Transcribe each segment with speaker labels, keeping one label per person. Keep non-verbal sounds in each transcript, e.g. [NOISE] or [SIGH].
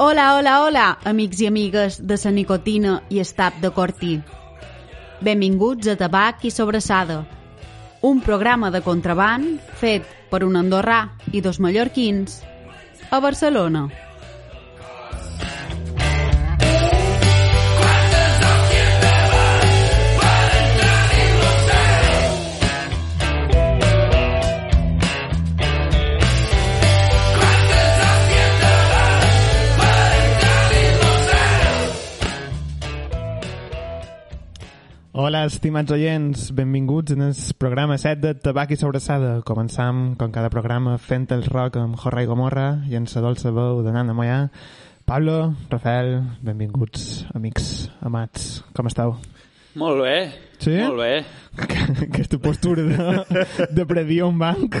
Speaker 1: Hola, hola, hola, amics i amigues de la nicotina i estap de cortí. Benvinguts a Tabac i Sobrassada, un programa de contraban fet per un andorrà i dos mallorquins a Barcelona.
Speaker 2: Hola, estimats oients, benvinguts en el programa 7 de Tabac i Sobrassada. Començam, com cada programa, fent el rock amb Jorra i Gomorra i en sa dolça veu de Nanda Moya. Pablo, Rafael, benvinguts, amics, amats, com esteu? [LAUGHS]
Speaker 3: Molt bé.
Speaker 2: Sí?
Speaker 3: Molt bé.
Speaker 2: Aquesta postura de, de predir un banc.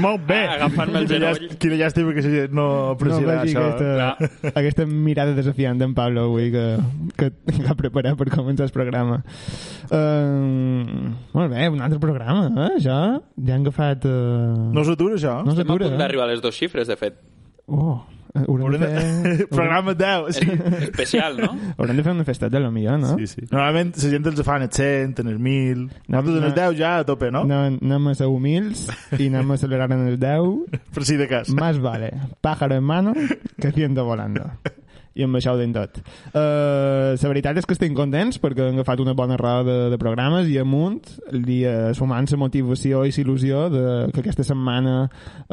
Speaker 2: Molt bé!
Speaker 3: Ah, Agafant-me el
Speaker 4: Quina,
Speaker 3: genoll.
Speaker 4: llàst- quina llàstima que si no
Speaker 2: No
Speaker 4: apreciarà
Speaker 2: vegi
Speaker 4: això.
Speaker 2: aquesta, aquesta mirada desafiant d'en Pablo avui que, que [LAUGHS] l'ha preparat per començar el programa. Um, molt bé, un altre programa, eh? Això ja han agafat... Uh...
Speaker 4: No s'atura, això?
Speaker 2: no
Speaker 3: Estem a
Speaker 2: s'atura,
Speaker 3: punt
Speaker 2: eh?
Speaker 3: d'arribar a les dues xifres, de fet.
Speaker 2: Oh, eh, haurem, de fer, haurem,
Speaker 4: [LAUGHS] Programa 10, sí.
Speaker 3: Especial, no?
Speaker 2: haurem de fer una festeta, a lo millor, no?
Speaker 4: Sí, sí. Normalment la gent els fa en els 100, en els 1.000...
Speaker 2: No,
Speaker 4: Nosaltres en els
Speaker 2: no.
Speaker 4: 10 ja a tope, no?
Speaker 2: No, anem a ser humils i anem a celebrar en el 10.
Speaker 4: Per si de cas.
Speaker 2: Más vale pájaro en mano que ciento volando. I amb això ho deim tot. Uh, la veritat és que estem contents perquè hem agafat una bona roda de, de programes i amunt, li, uh, sumant la motivació i la il·lusió de, que aquesta setmana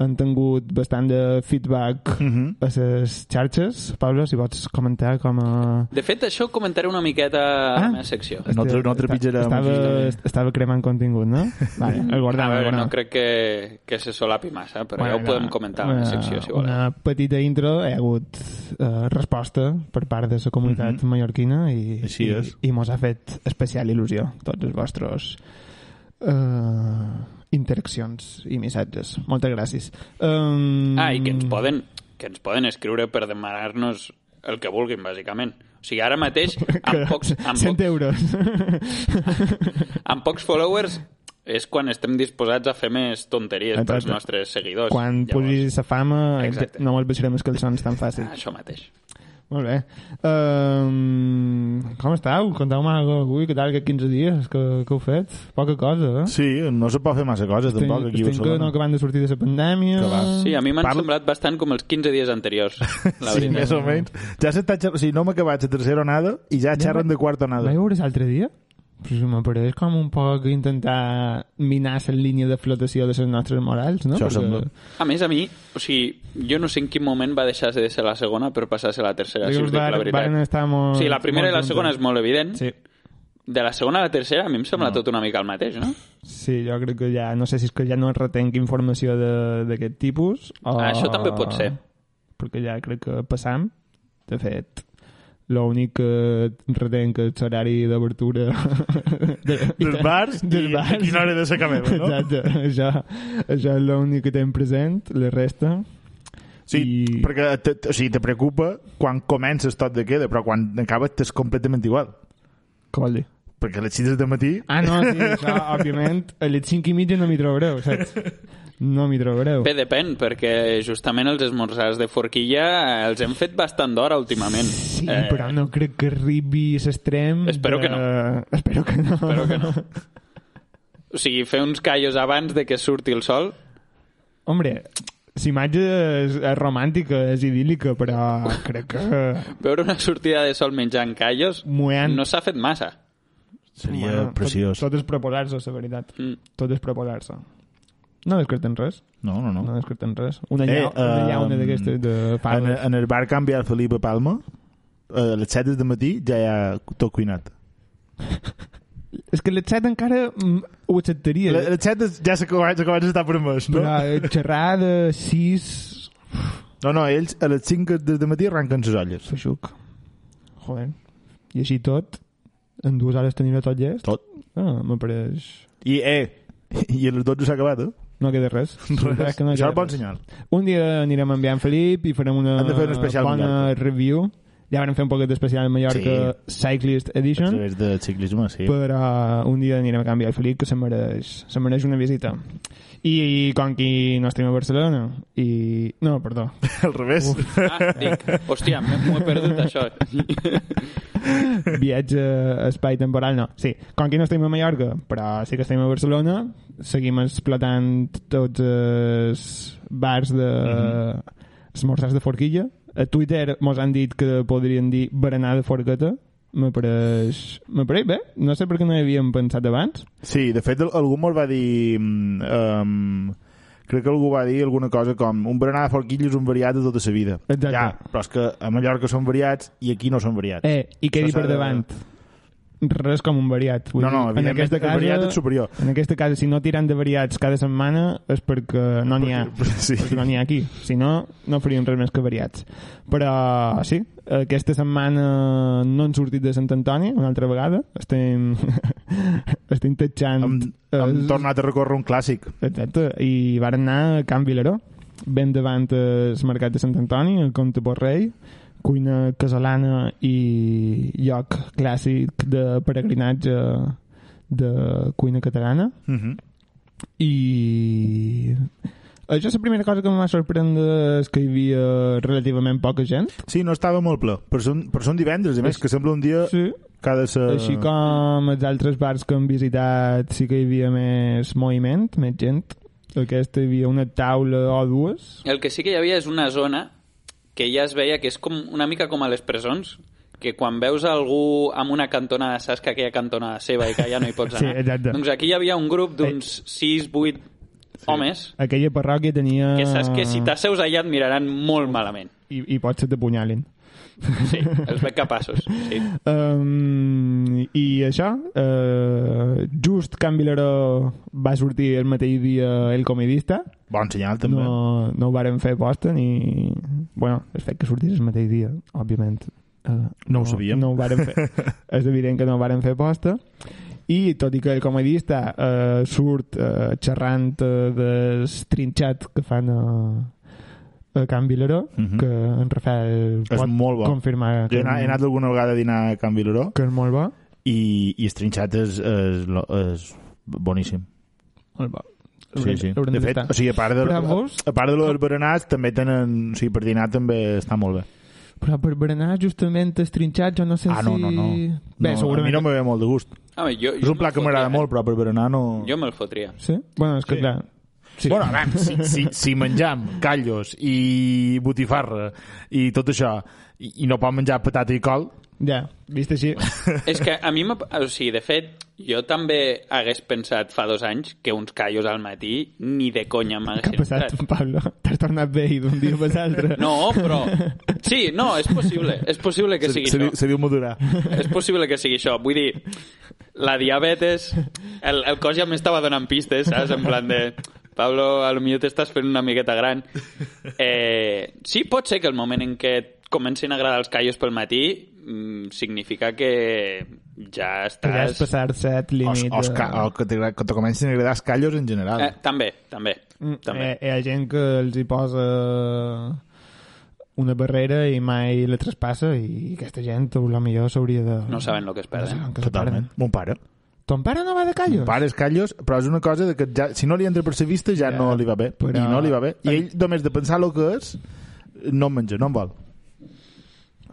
Speaker 2: han tingut bastant de feedback
Speaker 4: Mhm.
Speaker 2: a les xarxes. Pablo, si vols comentar com a...
Speaker 3: De fet, això ho comentaré una miqueta a
Speaker 2: Ah.
Speaker 3: la meva secció.
Speaker 4: No treu- no
Speaker 2: Esta-
Speaker 4: trepitjarem
Speaker 2: Estava,
Speaker 4: aquí.
Speaker 2: estava cremant contingut, no? Vale, el
Speaker 3: A
Speaker 2: guardam, el
Speaker 3: veure,
Speaker 2: guardam.
Speaker 3: no crec que, que se solapi massa, però ja ho
Speaker 2: Bueno,
Speaker 3: podem comentar a la secció, si voleu.
Speaker 2: Una petita intro, hi ha hagut eh, resposta per part de la comunitat
Speaker 4: Mhm.
Speaker 2: mallorquina i,
Speaker 4: Així
Speaker 2: i,
Speaker 4: és.
Speaker 2: i mos ha fet especial il·lusió tots els vostres eh, interaccions i missatges. Moltes gràcies. Um,
Speaker 3: Ah, i que ens
Speaker 2: [LAUGHS]
Speaker 3: poden, que ens poden escriure per demanar-nos el que vulguin, bàsicament. O sigui, ara
Speaker 2: [LAUGHS]
Speaker 3: mateix, amb pocs, amb
Speaker 2: 100
Speaker 3: pocs, [LAUGHS]
Speaker 2: euros.
Speaker 3: amb pocs followers és quan estem disposats a fer més tonteries pels
Speaker 2: Exacte.
Speaker 3: nostres seguidors.
Speaker 2: Quan pugi la fama,
Speaker 3: Exacte.
Speaker 2: no mos baixarem els calçons tan fàcil.
Speaker 3: Això mateix.
Speaker 2: Molt bé. Um, com esteu? Conteu-me alguna cosa avui. Què tal aquests 15 dies que, que heu fet? Poca cosa, eh?
Speaker 4: Sí, no se pot fer massa coses,
Speaker 2: Estem-
Speaker 4: tampoc, aquí a
Speaker 2: estem que no
Speaker 4: Barcelona.
Speaker 2: acabant de sortir de la pandèmia.
Speaker 4: Que va.
Speaker 3: Sí, a mi m'han
Speaker 4: Parla-
Speaker 3: semblat bastant com els 15 dies anteriors, la
Speaker 4: Sí,
Speaker 3: veritat.
Speaker 4: més o menys. Ja s'està xerrant... O sigui, no m'ha acabat la tercera onada i ja xerren de quarta onada.
Speaker 2: Vaig veure l'altre dia? Però si m'apareix com un poc intentar minar la línia de flotació de les nostres morals, no?
Speaker 4: Això sembla.
Speaker 3: A més, a mi, o sigui, jo no sé en quin moment va deixar de ser la segona per passar a ser la tercera, si us
Speaker 2: Digamos,
Speaker 3: dic
Speaker 2: var-
Speaker 3: la veritat.
Speaker 2: varen estar molt-
Speaker 3: sí, la primera
Speaker 2: molt
Speaker 3: i la
Speaker 2: juntes.
Speaker 3: segona és molt evident.
Speaker 2: Sí.
Speaker 3: De la segona a la tercera a mi em sembla tot una mica el mateix, no?
Speaker 2: Sí, jo crec que ja... No sé si és que ja no retenc informació de- d'aquest tipus o...
Speaker 3: Ah, això també pot ser.
Speaker 2: Perquè ja crec que passam, de fet, l'únic que retenc és l'horari d'obertura [LAUGHS] de,
Speaker 4: Dels bars
Speaker 2: dels
Speaker 4: i
Speaker 2: bars.
Speaker 4: a quina hora de la cameva, no?
Speaker 2: Exacte, això, això és l'únic que tenc present, la resta...
Speaker 4: Sí,
Speaker 2: I-
Speaker 4: perquè te, te- o sigui, te preocupa quan comences tot de queda, però quan acabes t'és completament igual.
Speaker 2: Què vol dir?
Speaker 4: Perquè a les 6 del matí...
Speaker 2: Ah, no, sí, això,
Speaker 4: [LAUGHS]
Speaker 2: òbviament, a les 5 i mitja no m'hi trobareu, saps? No m'hi trobareu.
Speaker 3: Bé, depèn, perquè justament els esmorzars de forquilla eh, els hem fet bastant d'hora últimament.
Speaker 2: Sí, eh... però no crec que arribi a l'extrem...
Speaker 3: Espero
Speaker 2: de...
Speaker 3: que no.
Speaker 2: Espero que no.
Speaker 3: Espero que no. O sigui, fer uns callos abans de que surti el sol...
Speaker 2: Hombre, l'imatge és, és romàntica, és idíl·lica, però crec que...
Speaker 3: Veure una sortida de sol menjant callos
Speaker 2: Mueant.
Speaker 3: no s'ha fet massa.
Speaker 4: Seria
Speaker 2: Bueno,
Speaker 4: preciós.
Speaker 2: Tot, tot és proposar-se, la veritat.
Speaker 3: Mm.
Speaker 2: Tot és proposar-se. No descartem res.
Speaker 4: No, no, no.
Speaker 2: No descartem res. Una,
Speaker 4: Eh,
Speaker 2: llau, una
Speaker 4: eh,
Speaker 2: llauna d'aquestes de
Speaker 4: En,
Speaker 2: pal.
Speaker 4: en el bar canviat Felipe Palma, a les 7 del matí ja hi ha tot cuinat.
Speaker 2: És que l'etxat encara mm, ho acceptaria.
Speaker 4: A les 7 ja s'acabat d'estar permès, no?
Speaker 2: Però eh, xerrar de 6...
Speaker 4: No, no, ells a les 5 del matí arrenquen les olles.
Speaker 2: Feixuc. Joder. I així tot, en dues hores tenir tot llest.
Speaker 4: Tot.
Speaker 2: Ah, m'apareix...
Speaker 4: I, eh, [LAUGHS] i a les 12 s'ha acabat, eh?
Speaker 2: No queda res.
Speaker 4: [LAUGHS] Res.
Speaker 2: Res que no queda
Speaker 4: Això és bon
Speaker 2: res.
Speaker 4: senyal.
Speaker 2: Un dia anirem a enviar en Felip i farem una
Speaker 4: Hem de fer un especial
Speaker 2: bona
Speaker 4: Mallorca.
Speaker 2: review Ja vam fer un poquet d'especial en Mallorca Cyclist
Speaker 4: A
Speaker 2: Edition,
Speaker 4: través de ciclisme, sí.
Speaker 2: però uh, un dia anirem a canviar el Felip, que se mereix, se mereix una visita. I, com que no estem a Barcelona, i... No, perdó.
Speaker 4: Al revés.
Speaker 3: Ah, dic, hòstia, m'he m'ho he perdut, això.
Speaker 2: Viatge espai temporal, no. Sí, com que no estem a Mallorca, però sí que estem a Barcelona, seguim explotant tots els bars de...
Speaker 4: Mhm.
Speaker 2: esmorzars de forquilla. A Twitter mos han dit que podrien dir berenar de forqueta. Me pareix... Me pareix bé. No sé per què no hi havíem pensat abans.
Speaker 4: Sí, de fet, al- algú me'l va dir... Um, crec que algú va dir alguna cosa com un berenar de forquilla és un variat de tota la vida.
Speaker 2: Exacte.
Speaker 4: Ja, però és que a Mallorca són variats i aquí no són variats.
Speaker 2: Eh, i què dir
Speaker 4: Això
Speaker 2: per
Speaker 4: s'ha de-
Speaker 2: davant? Res com un variat. Vull
Speaker 4: No,
Speaker 2: dir,
Speaker 4: no,
Speaker 2: en
Speaker 4: evidentment,
Speaker 2: aquesta
Speaker 4: el
Speaker 2: casa,
Speaker 4: variat és superior.
Speaker 2: En aquesta casa, si no tiran de variats cada setmana és perquè no n'hi ha.
Speaker 4: [LAUGHS] Sí.
Speaker 2: Perquè no n'hi ha aquí. Si no, no faríem res més que variats. Però sí, aquesta setmana no han sortit de Sant Antoni una altra vegada. Estem, [LAUGHS] estem tatxant...
Speaker 4: Hem, hem
Speaker 2: eh,
Speaker 4: tornat a recórrer un clàssic.
Speaker 2: Exacte, i van anar a Can Vilaró, ben davant el mercat de Sant Antoni, el Comte Borrell, cuina casolana i lloc clàssic de peregrinatge de cuina catalana.
Speaker 4: Uh -huh.
Speaker 2: I... Això és la primera cosa que em va sorprendre és que hi havia relativament poca gent.
Speaker 4: Sí, no estava molt ple, però són, però són divendres, a més, que sembla un dia
Speaker 2: Sí.
Speaker 4: cada sa...
Speaker 2: Així com els altres bars que hem visitat sí que hi havia més moviment, més gent. Aquesta hi havia una taula o dues,
Speaker 3: El que sí que hi havia és una zona que ja es veia que és com una mica com a les presons, que quan veus algú amb una cantonada, saps que aquella cantonada seva i que ja no hi pots
Speaker 2: Sí,
Speaker 3: anar.
Speaker 2: exacte.
Speaker 3: Doncs aquí hi havia un
Speaker 4: Eh.
Speaker 3: grup d'uns 6, 8 homes
Speaker 2: aquella parròquia tenia...
Speaker 3: que saps que si t'asseus allà et miraran molt malament.
Speaker 2: I, i potser t'apunyalin.
Speaker 3: Sí, els veig capaços. Sí.
Speaker 2: Um, I això, uh, just Can Vilaró va sortir el mateix dia El Comidista,
Speaker 4: Bon senyal, també.
Speaker 2: no, no ho varen fer posta ni... Bueno, el fet que sortís el mateix dia, òbviament. Uh,
Speaker 4: ho sabíem.
Speaker 2: No ho varen
Speaker 4: [LAUGHS]
Speaker 2: fer. És evident que no ho varen fer posta. I tot i que el comedista uh, surt uh, xerrant uh, del trinxat que fan a, a Can Vilaró,
Speaker 4: Mhm.
Speaker 2: que en Rafael
Speaker 4: És
Speaker 2: pot
Speaker 4: molt bo.
Speaker 2: confirmar
Speaker 4: Jo
Speaker 2: que,
Speaker 4: he anat, he anat alguna vegada a dinar a Can Vilaró
Speaker 2: que és molt bo.
Speaker 4: i, i estrinxat és, és, lo- és boníssim.
Speaker 2: Molt bo.
Speaker 4: Sí, sí.
Speaker 2: Haurem
Speaker 4: De fet,
Speaker 2: d'estar.
Speaker 4: o sigui, a part de,
Speaker 2: Bravos.
Speaker 4: a part de los berenars, també tenen... O sigui, per dinar també està molt bé.
Speaker 2: Però per berenar, justament, estrinxat, jo no sé
Speaker 4: Ah, no,
Speaker 2: si...
Speaker 4: no, no.
Speaker 2: Bé,
Speaker 4: no
Speaker 2: segurament...
Speaker 4: A mi no me ve molt de gust.
Speaker 3: Home, jo,
Speaker 4: És
Speaker 3: jo
Speaker 4: un plat
Speaker 3: me'l
Speaker 4: que m'agrada
Speaker 3: fotria,
Speaker 4: molt, però per berenar no...
Speaker 3: Eh? Jo me'l fotria.
Speaker 2: Sí? Bueno, és que
Speaker 4: Sí.
Speaker 2: sí. clar... Sí.
Speaker 4: Bueno, a veure, si, si, si menjam callos i botifarra i tot això i, i no pot menjar patata i col,
Speaker 2: Ja, vist
Speaker 3: [LAUGHS]
Speaker 2: així. [LAUGHS]
Speaker 3: És que a mi, m'ha- o sigui, de fet, jo també hagués pensat fa dos anys que uns callos al matí ni de
Speaker 2: Què
Speaker 3: conya
Speaker 2: ha
Speaker 3: m'haguessin
Speaker 2: passat,
Speaker 3: entrat.
Speaker 2: Pablo? T'has tornat vell d'un dia per l'altre.
Speaker 3: No,
Speaker 2: [LAUGHS]
Speaker 3: però... Sí, no, és possible. És possible que
Speaker 4: se,
Speaker 3: sigui
Speaker 4: se,
Speaker 3: això.
Speaker 4: diu- se diu madurar.
Speaker 3: És possible que sigui això. Vull dir, la diabetes... El, el cos ja m'estava donant pistes, saps? En plan de... Pablo, a lo millor t'estàs fent una miqueta gran. Eh, sí, pot ser que el moment en què et comencin a agradar els callos pel matí mm, significa que
Speaker 2: Però Ja
Speaker 3: ja estàs...
Speaker 2: has passat set eh. límit.
Speaker 4: O, o,
Speaker 2: de-
Speaker 4: ca, o que, te, que te comencin a agradar els callos en general.
Speaker 3: Eh, també, també.
Speaker 2: Mm,
Speaker 3: també.
Speaker 2: eh, Hi ha gent que els hi posa una barrera i mai la traspassa i aquesta gent a lo millor s'hauria de...
Speaker 3: No saben lo que es perden.
Speaker 2: saben que se
Speaker 4: Totalment.
Speaker 2: perden.
Speaker 4: Mon pare.
Speaker 2: Ton pare no va de callos?
Speaker 4: Mon pare és callos, però és una cosa de que ja, si no li entra per la vista ja,
Speaker 2: Ja,
Speaker 4: no li va bé.
Speaker 2: però-
Speaker 4: I no li va bé. I ell, només de pensar el que és, no en menja, no en vol.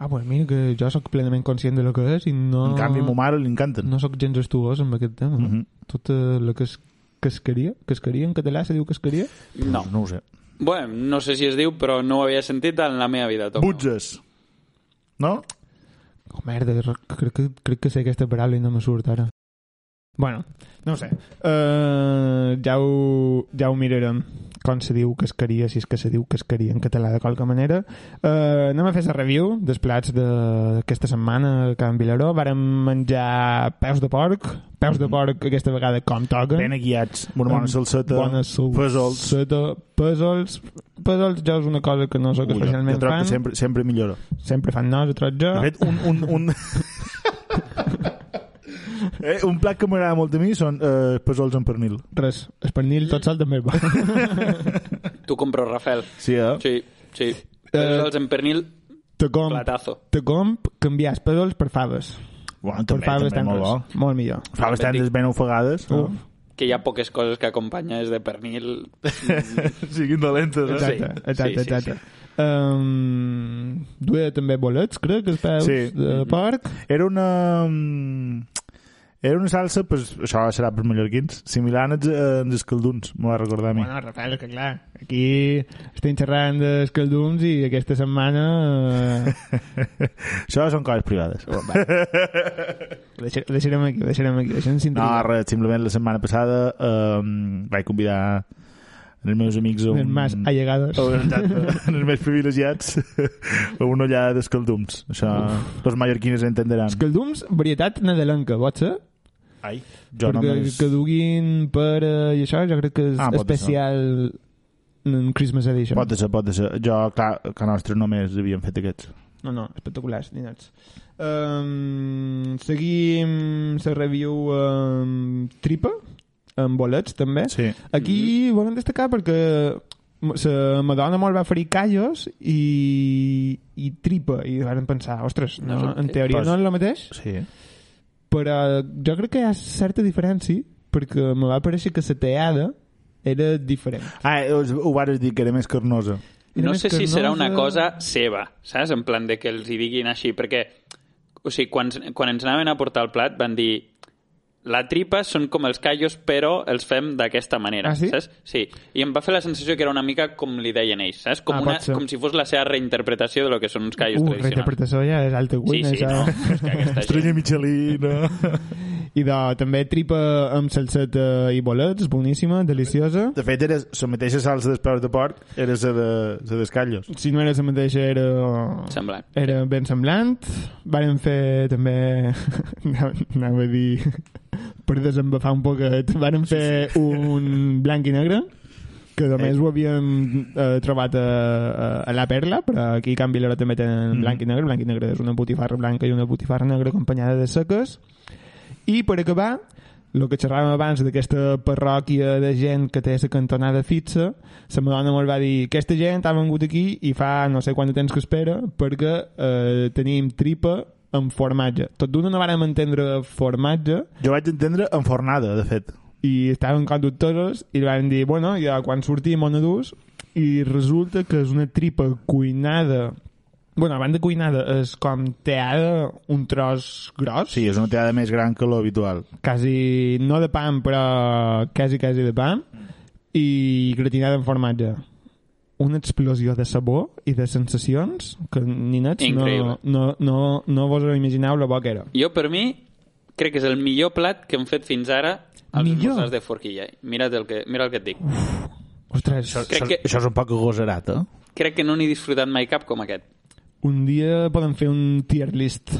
Speaker 2: Ah, pues mira que jo sóc plenament conscient de lo que és i no...
Speaker 4: En canvi, a ma mare li encanten.
Speaker 2: No sóc gens estuós amb aquest tema.
Speaker 4: Mhm.
Speaker 2: Tota la cas casqueria? Casqueria en català se diu casqueria?
Speaker 3: No.
Speaker 4: No ho sé.
Speaker 3: Bueno, no sé si es diu, però no ho havia sentit en la meva vida. Toc.
Speaker 4: Butzes. No?
Speaker 2: Oh, merda, crec que, crec que sé aquesta paraula i no me surt ara. Bueno, no ho sé. Uh, ja, ho, ja ho mirarem com se diu cascaria, si és que se diu cascaria en català de qualque manera. Uh, anem a fer la review dels plats de- d'aquesta setmana a Can Vilaró. Vàrem menjar peus de porc, peus de porc aquesta vegada com toca.
Speaker 4: Ben aguiats, una bona salseta,
Speaker 2: bona
Speaker 4: fesols.
Speaker 2: salseta, pèsols. Pèsols ja és una cosa que no sóc
Speaker 4: Ui, jo-
Speaker 2: especialment
Speaker 4: jo trobo
Speaker 2: fan.
Speaker 4: que sempre, sempre millora.
Speaker 2: Sempre fan nos, ho trobo jo.
Speaker 4: De fet, un... un, un... [LAUGHS] eh, un plat que m'agrada molt a mi són eh, pesols amb pernil.
Speaker 2: Res, el pernil tot sol també va.
Speaker 4: [LAUGHS]
Speaker 3: Tu compro, Rafael.
Speaker 4: Sí, eh?
Speaker 3: Sí, sí.
Speaker 2: Eh,
Speaker 3: Eh... Els en pernil
Speaker 2: te comp,
Speaker 3: Platazo.
Speaker 2: te comp canviar els pèsols per faves.
Speaker 4: Bueno,
Speaker 2: Per
Speaker 4: també,
Speaker 2: faves
Speaker 4: també molt bo.
Speaker 2: tanques. Molt millor.
Speaker 4: Faves tantes ben ofegades. [LAUGHS]
Speaker 2: Uf.
Speaker 3: Que hi ha poques coses que acompanya és de
Speaker 2: [LAUGHS]
Speaker 3: pernil.
Speaker 4: Siguin dolentes, eh?
Speaker 2: Exacte,
Speaker 3: Sí,
Speaker 2: exacte,
Speaker 3: sí, sí,
Speaker 2: exacte. Um, duia també bolets, crec, els peus
Speaker 4: Sí.
Speaker 2: de porc.
Speaker 4: Era una... mm, Era una salsa, pues, això serà per mallorquins, similar als, eh, als escalduns, m'ho va recordar a mi.
Speaker 2: Bueno, Rafael, que clar, aquí estem xerrant d'escaldums i aquesta setmana eh,
Speaker 4: Això són coses privades.
Speaker 2: ho deixa- ho deixarem aquí, ho deixarem aquí, ho deixem sin
Speaker 4: [LAUGHS] No, res, simplement la setmana passada eh, vaig convidar els meus amics a
Speaker 2: Els
Speaker 4: un...
Speaker 2: más allegados.
Speaker 4: a un- [LAUGHS] exacte, eh, els més privilegiats [LAUGHS] a una ollada d'escaldums. Això els mallorquines entendran.
Speaker 2: Escaldums, varietat nadalenca, pot ser?
Speaker 4: Ai,
Speaker 2: Jo
Speaker 4: jo
Speaker 2: Perquè
Speaker 4: només...
Speaker 2: que duguin per... eh, I això jo crec que és
Speaker 4: Ah, pot
Speaker 2: especial en Christmas Edition.
Speaker 4: Pot ser, pot ser. Jo, clar, que nostres només havien fet aquests.
Speaker 2: No, no, espectaculars, dinats. Um, seguim la review amb tripa, amb bolets, també.
Speaker 4: Sí.
Speaker 2: Aquí volem destacar perquè la Madonna molt va fer callos i, i tripa i van pensar, ostres, no,
Speaker 3: No és el
Speaker 2: en
Speaker 3: mateix.
Speaker 2: teoria
Speaker 4: eh, Pues-
Speaker 2: no és el mateix
Speaker 4: Sí.
Speaker 2: però jo crec que hi ha certa diferència perquè me va pareixer que la teada era diferent
Speaker 4: Ah, us, ho vares dir que era més carnosa.
Speaker 2: Era
Speaker 3: No
Speaker 2: més
Speaker 3: sé si serà
Speaker 2: carnosa.
Speaker 3: una cosa seva, saps? En plan de que els hi diguin així, perquè o sigui, quan, quan ens anaven a portar el plat van dir la tripa són com els callos, però els fem d'aquesta manera,
Speaker 2: Ah, sí?
Speaker 3: saps? Sí, i em va fer la sensació que era una mica com li deien ells, saps? Com,
Speaker 2: Ah,
Speaker 3: una,
Speaker 2: pot ser.
Speaker 3: com si fos la seva reinterpretació de lo que són uns callos
Speaker 2: Uh,
Speaker 3: tradicionals.
Speaker 2: reinterpretació eh. ja és alta
Speaker 3: Sí,
Speaker 2: cuina.
Speaker 3: sí,
Speaker 2: ja.
Speaker 3: no, és que aquesta
Speaker 4: Estrella
Speaker 3: gent...
Speaker 4: Michelina.
Speaker 2: [LAUGHS] I de, també tripa amb salseta i bolets, boníssima, deliciosa.
Speaker 4: De fet, era la mateixa salsa d'espeus de porc, era la de, la d'escallos.
Speaker 2: Si no era la mateixa, era...
Speaker 3: Semblant.
Speaker 2: Era ben semblant. Varen fer també... [LAUGHS] Anava a dir... Per desembafar un poquet. Varen fer un blanc i negre que només ho havíem eh, trobat a, a, a la Perla, però aquí a Can Vilera també tenen blanc i negre. Blanc i negre és una botifarra blanca i una botifarra negra acompanyada de seques. I per acabar, el que xerràvem abans d'aquesta parròquia de gent que té la cantonada fixa, la Madonna molt va dir aquesta gent ha vengut aquí i fa no sé quant de temps que espera perquè eh, tenim tripa amb formatge. Tot d'una no vàrem entendre formatge
Speaker 4: Jo vaig entendre enfornada, de fet.
Speaker 2: i estaven conductores i li van dir, bueno, ja quan sortim on adús i resulta que és una tripa cuinada bueno, a banda cuinada és com teada un tros gros
Speaker 4: Sí, és una teada més gran que l'habitual.
Speaker 2: quasi, no de pam, però quasi, quasi de pam, i gratinada en formatge. Una explosió de sabor i de sensacions que, ninets,
Speaker 3: Increïble.
Speaker 2: no, no, no, no vos ho imagineu la bo que era.
Speaker 3: Jo, per mi, crec que és el millor plat que hem fet fins ara als
Speaker 2: Millor?
Speaker 3: esmorzars de forquilla. Mira't el que, mira el que et dic.
Speaker 2: Ostres,
Speaker 3: Crec
Speaker 4: això,
Speaker 3: que-
Speaker 4: això és un poc agosarat, eh?
Speaker 3: Crec que no n'he disfrutat mai cap com aquest.
Speaker 2: un dia poden fer un tier list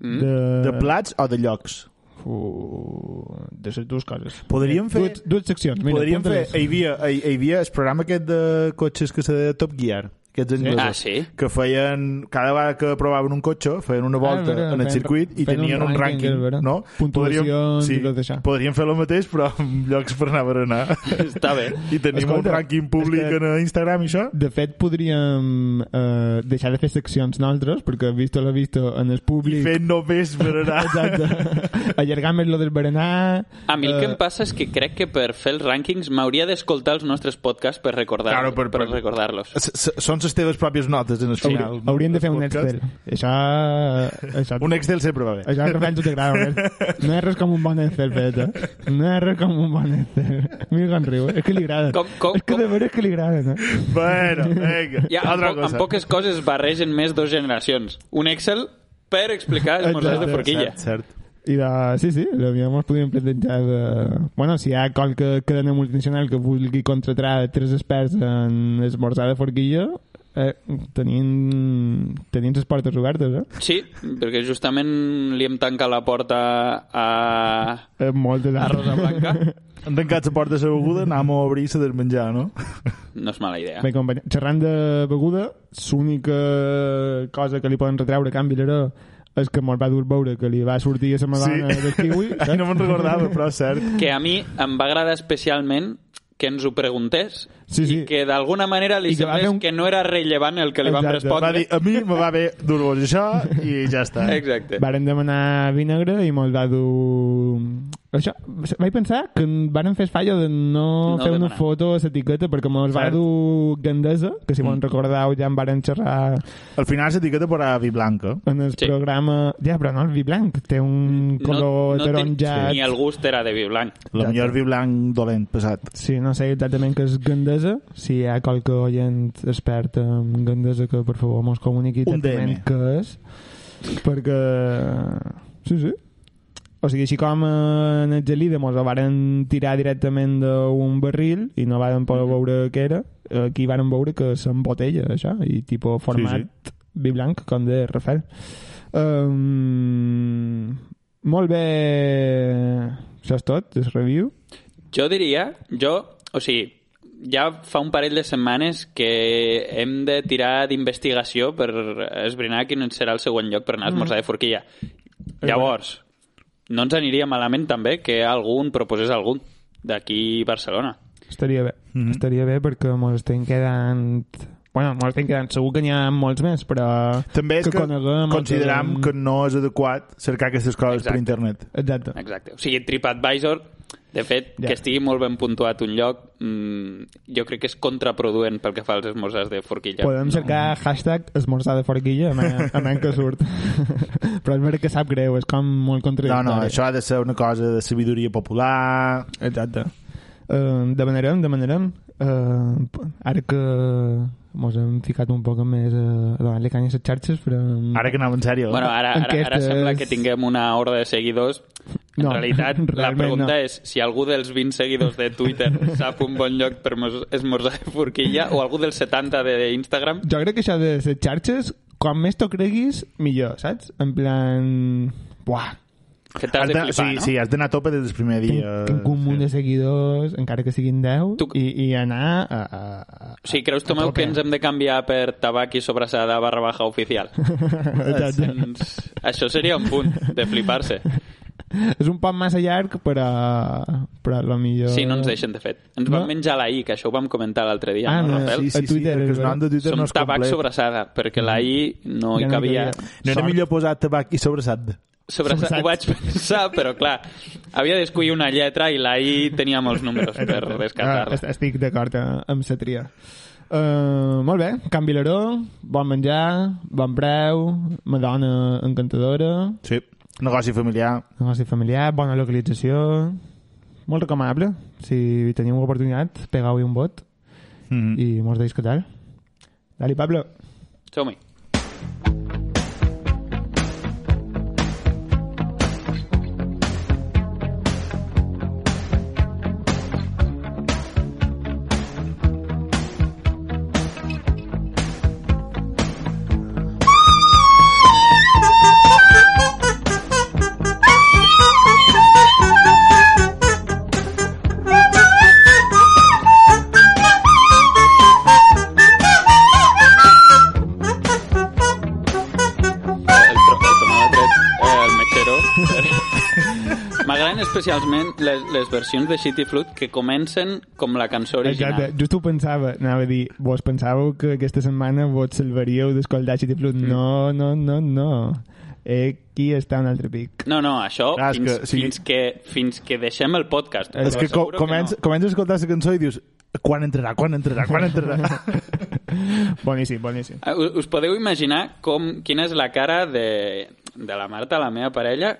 Speaker 3: Mm?
Speaker 2: de...
Speaker 4: De plats o de llocs?
Speaker 2: Uh, de les dues coses. Eh,
Speaker 4: Podríem fer...
Speaker 2: Dues, dues seccions, mira,
Speaker 4: podríem fer...
Speaker 2: apunta-les.
Speaker 4: Hi havia, hi, hi havia el programa aquest de cotxes que se deia Top Gear, aquests anglesos.
Speaker 3: Ah, sí?
Speaker 4: Que feien... Cada vegada que provaven un cotxe, feien una volta
Speaker 2: Ah, mira,
Speaker 4: en el
Speaker 2: feien-
Speaker 4: circuit i
Speaker 2: feien
Speaker 4: tenien
Speaker 2: un
Speaker 4: un
Speaker 2: rànquing,
Speaker 4: rànquing,
Speaker 2: és veritat.
Speaker 4: no?
Speaker 2: Puntuacions i tot
Speaker 4: sí,
Speaker 2: això.
Speaker 4: podríem fer el mateix, però amb llocs per anar a berenar.
Speaker 2: [LAUGHS]
Speaker 3: Està bé.
Speaker 4: I tenim
Speaker 2: Escolta,
Speaker 4: un rànquing públic
Speaker 2: és que-
Speaker 4: en Instagram i això.
Speaker 2: De fet, podríem eh, deixar de fer seccions nosaltres, perquè visto lo visto en el
Speaker 4: I
Speaker 2: públic...
Speaker 4: fer només
Speaker 2: [LAUGHS]
Speaker 4: berenar.
Speaker 2: Exacte. Allargar més lo del berenar...
Speaker 3: A mi el Ah, que
Speaker 2: eh,
Speaker 3: em passa és que crec que per fer els rànquings m'hauria d'escoltar els nostres podcasts per recordar
Speaker 4: Claro, per-
Speaker 3: per
Speaker 4: per-
Speaker 3: recordar-los.
Speaker 4: S- s- Són les teves pròpies notes en el final.
Speaker 2: Hauríem de fer un
Speaker 4: podcast.
Speaker 2: Excel. Això... això
Speaker 4: Un Excel sempre va bé.
Speaker 2: Això que penso t'agrada més. No és res com un bon Excel, Peret. No és res com un bon Excel. Mira com riu. eh? És que li agrada.
Speaker 3: Com- com-
Speaker 2: és que de
Speaker 3: com-
Speaker 2: veres que li agrada, no?
Speaker 4: Bueno, vinga.
Speaker 3: Ja, amb,
Speaker 4: Altra
Speaker 3: po
Speaker 4: cosa.
Speaker 3: amb poques coses barregen més dues generacions. Un Excel per explicar els morsars de
Speaker 2: Exacte,
Speaker 3: forquilla.
Speaker 4: Cert, cert.
Speaker 2: I de... Sí, sí, l'aviam ens podríem plantejar de... Bueno, si hi ha qualque cadena multinacional que vulgui contratar tres experts en esmorzar de forquilla, eh, tenim, tenim les portes obertes, eh?
Speaker 3: Sí, perquè justament li hem tancat la porta a,
Speaker 2: Eh, moltes
Speaker 3: a
Speaker 2: altres.
Speaker 3: Rosa Blanca.
Speaker 4: Hem tancat la porta de la beguda, anem a obrir la del menjar, no?
Speaker 3: No és mala idea.
Speaker 2: Bé, company, xerrant de beguda, l'única cosa que li poden retreure a Can Villaró és que molt va dur veure que li va sortir eh,
Speaker 4: [LAUGHS]
Speaker 2: a la madona sí. del kiwi.
Speaker 4: Ai, no me'n recordava, però és cert.
Speaker 3: Que a mi em va agradar especialment que ens ho preguntés
Speaker 2: Sí, sí.
Speaker 3: i que d'alguna manera li
Speaker 2: I que va
Speaker 3: semblés
Speaker 2: fer
Speaker 3: un...
Speaker 2: un-
Speaker 3: que no era rellevant el que li vam
Speaker 2: Exacte.
Speaker 3: respondre.
Speaker 4: Va dir, a mi me va bé dur-vos això i ja està.
Speaker 2: "Oh".
Speaker 3: Exacte.
Speaker 2: eh? Varen demanar vinagre i me'l va dur... Això, vaig pensar que varen fer falla de no,
Speaker 3: No
Speaker 2: fer una
Speaker 3: demanar.
Speaker 2: foto a l'etiqueta perquè me'l va
Speaker 4: Cert.
Speaker 2: dur Gandesa, que si
Speaker 3: Mm.
Speaker 2: me'n recordeu ja en varen xerrar
Speaker 4: Al final s'etiqueta per a vi eh? blanca.
Speaker 2: en el
Speaker 3: Sí.
Speaker 2: programa... Ja, però no el vi blanc, té un color
Speaker 3: no, no
Speaker 2: taronjat...
Speaker 3: Té, ni el gust era de vi blanc.
Speaker 4: La
Speaker 2: Ja,
Speaker 4: millor vi blanc dolent passat.
Speaker 2: Sí, no sé exactament què és gandesa. Si hi ha qualque oient expert en gandesa que, per favor, mos comuniqui
Speaker 4: Un
Speaker 2: exactament
Speaker 4: DM.
Speaker 2: què és. Perquè... Sí, sí. O sigui, així com eh, en Angelida mos el varen tirar directament d'un barril i no varen poder veure què era, aquí varen veure que s'embotella, això, i tipus format sí, sí. vi blanc, com de Rafael. Um, molt bé... Això és tot, és review.
Speaker 3: Jo diria, jo, o sigui, ja fa un parell de setmanes que hem de tirar d'investigació per esbrinar quin serà el següent lloc per anar a esmorzar de forquilla. Llavors, no ens aniria malament també que algun proposés algun d'aquí Barcelona.
Speaker 2: Estaria bé.
Speaker 4: Mhm.
Speaker 2: Estaria bé perquè mos estem quedant... Bueno, mos estem quedant... Segur que n'hi ha molts més, però...
Speaker 4: També és que,
Speaker 2: coneguem,
Speaker 4: consideram
Speaker 2: coneguem-
Speaker 4: que no és adequat cercar aquestes coses
Speaker 3: Exacte.
Speaker 4: per internet.
Speaker 2: Exacte.
Speaker 3: Exacte. O sigui, TripAdvisor, de fet,
Speaker 2: Ja.
Speaker 3: que estigui molt ben puntuat un lloc, mm, jo crec que és contraproduent pel que fa als esmorzars de forquilla.
Speaker 2: Podem cercar hashtag esmorzar de forquilla a men, a men que surt. [LAUGHS] però és veritat que sap greu, és com molt
Speaker 4: No,
Speaker 2: contradictori.
Speaker 4: no, això ha de ser una cosa de sabidoria popular...
Speaker 2: Exacte. Uh, demanarem, demanarem. Uh, ara que mos hem ficat un poc més a a donar-li canya a les xarxes, però...
Speaker 4: Ara que anava en sèrio. eh?
Speaker 3: Bueno, ara, ara, ara
Speaker 2: Enquestes.
Speaker 3: sembla que tinguem una horda de seguidors. En
Speaker 2: No,
Speaker 3: realitat, la
Speaker 2: realment
Speaker 3: pregunta
Speaker 2: no.
Speaker 3: és si algú dels 20 seguidors de Twitter sap un bon lloc per mos- esmorzar de forquilla o algú dels 70 d'Instagram.
Speaker 2: jo crec que això de les xarxes, com més t'ho creguis, millor, saps? En plan... Buah,
Speaker 3: Que t'has de flipar,
Speaker 4: sí,
Speaker 3: no?
Speaker 4: sí, has d'anar a tope des del primer
Speaker 2: tinc,
Speaker 4: dia.
Speaker 2: tinc un munt de seguidors, encara que siguin 10,
Speaker 3: Tu-
Speaker 2: i, i anar a... a, a
Speaker 3: O sigui, creus,
Speaker 2: a
Speaker 3: Tomeu,
Speaker 2: tope.
Speaker 3: que ens hem de canviar per tabac i sobrassada barra baja oficial?
Speaker 2: Exacte.
Speaker 3: Ens- Això seria un punt de flipar-se.
Speaker 2: És un poc massa llarg, però... Però a lo millor...
Speaker 3: Sí, no ens deixen, de fet. Ens vam
Speaker 2: No.
Speaker 3: menjar la I, que això ho vam comentar l'altre dia,
Speaker 2: Ah,
Speaker 3: no,
Speaker 2: no,
Speaker 3: Rafael?
Speaker 4: Sí, sí,
Speaker 2: A
Speaker 4: sí,
Speaker 2: Twitter,
Speaker 4: perquè
Speaker 2: és
Speaker 4: el nom de Twitter
Speaker 3: Som
Speaker 4: no és
Speaker 3: tabac
Speaker 4: complet.
Speaker 3: sobrassada, perquè la I no hi
Speaker 2: Ja no hi
Speaker 3: cabia.
Speaker 2: cabia.
Speaker 4: No era
Speaker 2: Sort.
Speaker 4: millor posar tabac i sobrassat.
Speaker 3: Sobre
Speaker 2: Sobrasat.
Speaker 3: Ho vaig pensar, però clar, havia d'escollir una lletra i la I tenia molts números per
Speaker 2: Ah,
Speaker 3: descartar-la.
Speaker 2: est- estic d'acord eh, amb la tria. Uh, molt bé, Can Vilaró, bon menjar, bon preu, Madonna encantadora,
Speaker 4: Sí. Negoci familiar.
Speaker 2: negoci familiar, bona localització, molt recomanable. Si teniu oportunitat, pegau-hi un vot
Speaker 4: Mm -hmm.
Speaker 2: i mos deis què tal. Dali, Pablo.
Speaker 3: Som-hi. El, tro el tomàquet, eh, el metgero. M'agraden especialment les, les versions de Shitty Flute que comencen com la cançó
Speaker 2: Exacte,
Speaker 3: original.
Speaker 2: just ho pensava, anava a dir, vos pensàveu que aquesta setmana vos salvaríeu d'escoltar City Plus? Mm. No, no, no, no. Eh, aquí està un altre [LAUGHS] pic.
Speaker 3: No, no, això
Speaker 4: Clar, Ah, és
Speaker 3: fins,
Speaker 4: que,
Speaker 3: que,
Speaker 4: o sigui-
Speaker 3: fins, que, fins que deixem el podcast. però
Speaker 4: És que co
Speaker 3: asseguro
Speaker 4: comença,
Speaker 3: no.
Speaker 4: comença a escoltar la cançó i dius quan entrarà, quan entrarà, quan [LAUGHS] entrarà.
Speaker 2: Boníssim, boníssim.
Speaker 3: Ah, u- Us podeu imaginar com, quina és la cara de, de la Marta, la meva parella,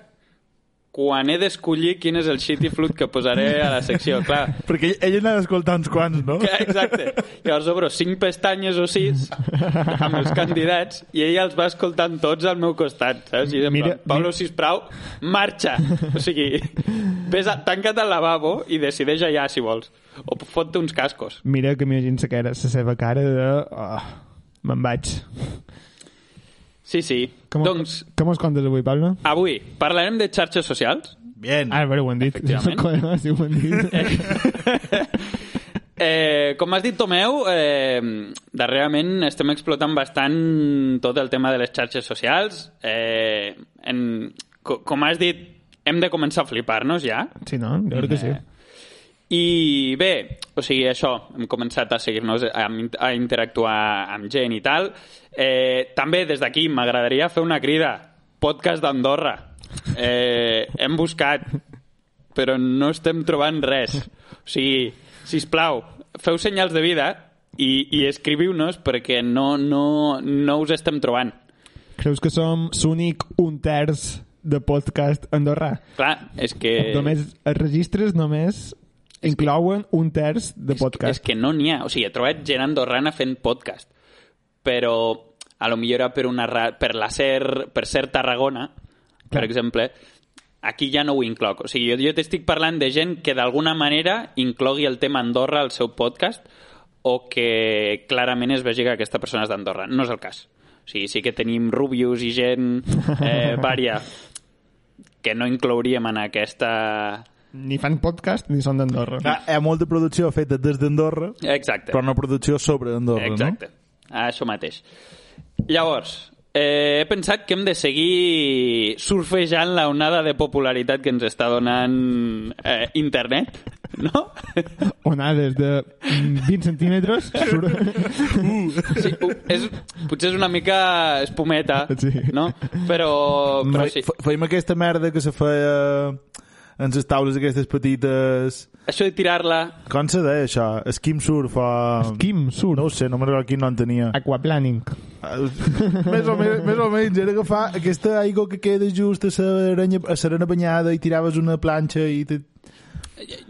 Speaker 3: quan he d'escollir quin és el shitty flute que posaré a la secció, clar.
Speaker 4: Perquè ell, ell n'ha d'escoltar uns quants, no?
Speaker 3: que- Exacte. Llavors obro cinc pestanyes o sis amb els candidats i ella els va escoltant tots al meu costat, saps? I
Speaker 2: Mira-
Speaker 3: mira, plan, Pablo,
Speaker 2: mira-
Speaker 3: sisplau, marxa! O sigui, ves a, tanca't al lavabo i decideix allà, si vols. O fot uns cascos.
Speaker 2: Mira que m'imagino que era la seva cara de... Oh, me'n vaig.
Speaker 3: Sí, sí.
Speaker 2: Com,
Speaker 3: doncs,
Speaker 2: com us contes avui, Pablo?
Speaker 3: avui parlarem de xarxes socials.
Speaker 4: Bien.
Speaker 2: Ah, però ho hem dit. [LAUGHS]
Speaker 3: Efectivament.
Speaker 2: Sí, ho hem [LAUGHS] dit.
Speaker 3: [LAUGHS] Eh, com has dit, Tomeu, eh, darrerament estem explotant bastant tot el tema de les xarxes socials. Eh, en, co com has dit, hem de començar a flipar-nos ja.
Speaker 2: Sí, no? Jo crec que sí.
Speaker 3: I bé, O sigui, això, hem començat a seguir-nos, a, a interactuar amb gent i tal. Eh, també, des d'aquí, m'agradaria fer una crida. Podcast d'Andorra. Eh, hem buscat, però no estem trobant res. O sigui, si plau, feu senyals de vida i, i escriviu-nos perquè no, no, no us estem trobant.
Speaker 2: Creus que som l'únic un terç de podcast andorrà?
Speaker 3: Clar, és que...
Speaker 2: Només els registres només inclouen un terç de podcast.
Speaker 3: És que no n'hi ha. O sigui, he trobat gent andorrana fent podcast, però a lo millor era per, una, ra- per la ser, per ser Tarragona, per exemple, aquí ja no ho incloc. O sigui, jo, jo t'estic parlant de gent que d'alguna manera inclogui el tema Andorra al seu podcast o que clarament es vegi que aquesta persona és d'Andorra. No és el cas. O sigui, sí que tenim Rubius i gent eh, vària que no inclouríem en aquesta...
Speaker 2: Ni fan podcast ni són d'Andorra.
Speaker 4: Clar, hi ha molta producció feta des d'Andorra,
Speaker 3: Exacte.
Speaker 4: però no producció sobre Andorra,
Speaker 3: Exacte. Això mateix. Llavors, eh, he pensat que hem de seguir surfejant la onada de popularitat que ens està donant eh, internet, no? [LAUGHS]
Speaker 2: Onades de mm, 20 centímetres. Sur...
Speaker 3: Sí, u- és, potser és una mica espumeta,
Speaker 2: Sí.
Speaker 3: no? Però,
Speaker 4: no?
Speaker 3: però
Speaker 4: Fe-
Speaker 3: sí.
Speaker 4: fe- Feim aquesta merda que se feia en les taules aquestes petites...
Speaker 3: Això de tirar-la...
Speaker 4: Com se deia això? Skim surf o...
Speaker 2: Quim, sur.
Speaker 4: No ho sé, no me'n recordo quin nom tenia.
Speaker 2: Aquaplaning.
Speaker 4: més, o menys, més o menys, era agafar aquesta aigua que queda just a l'arena a l'arena banyada i tiraves una planxa i... Te...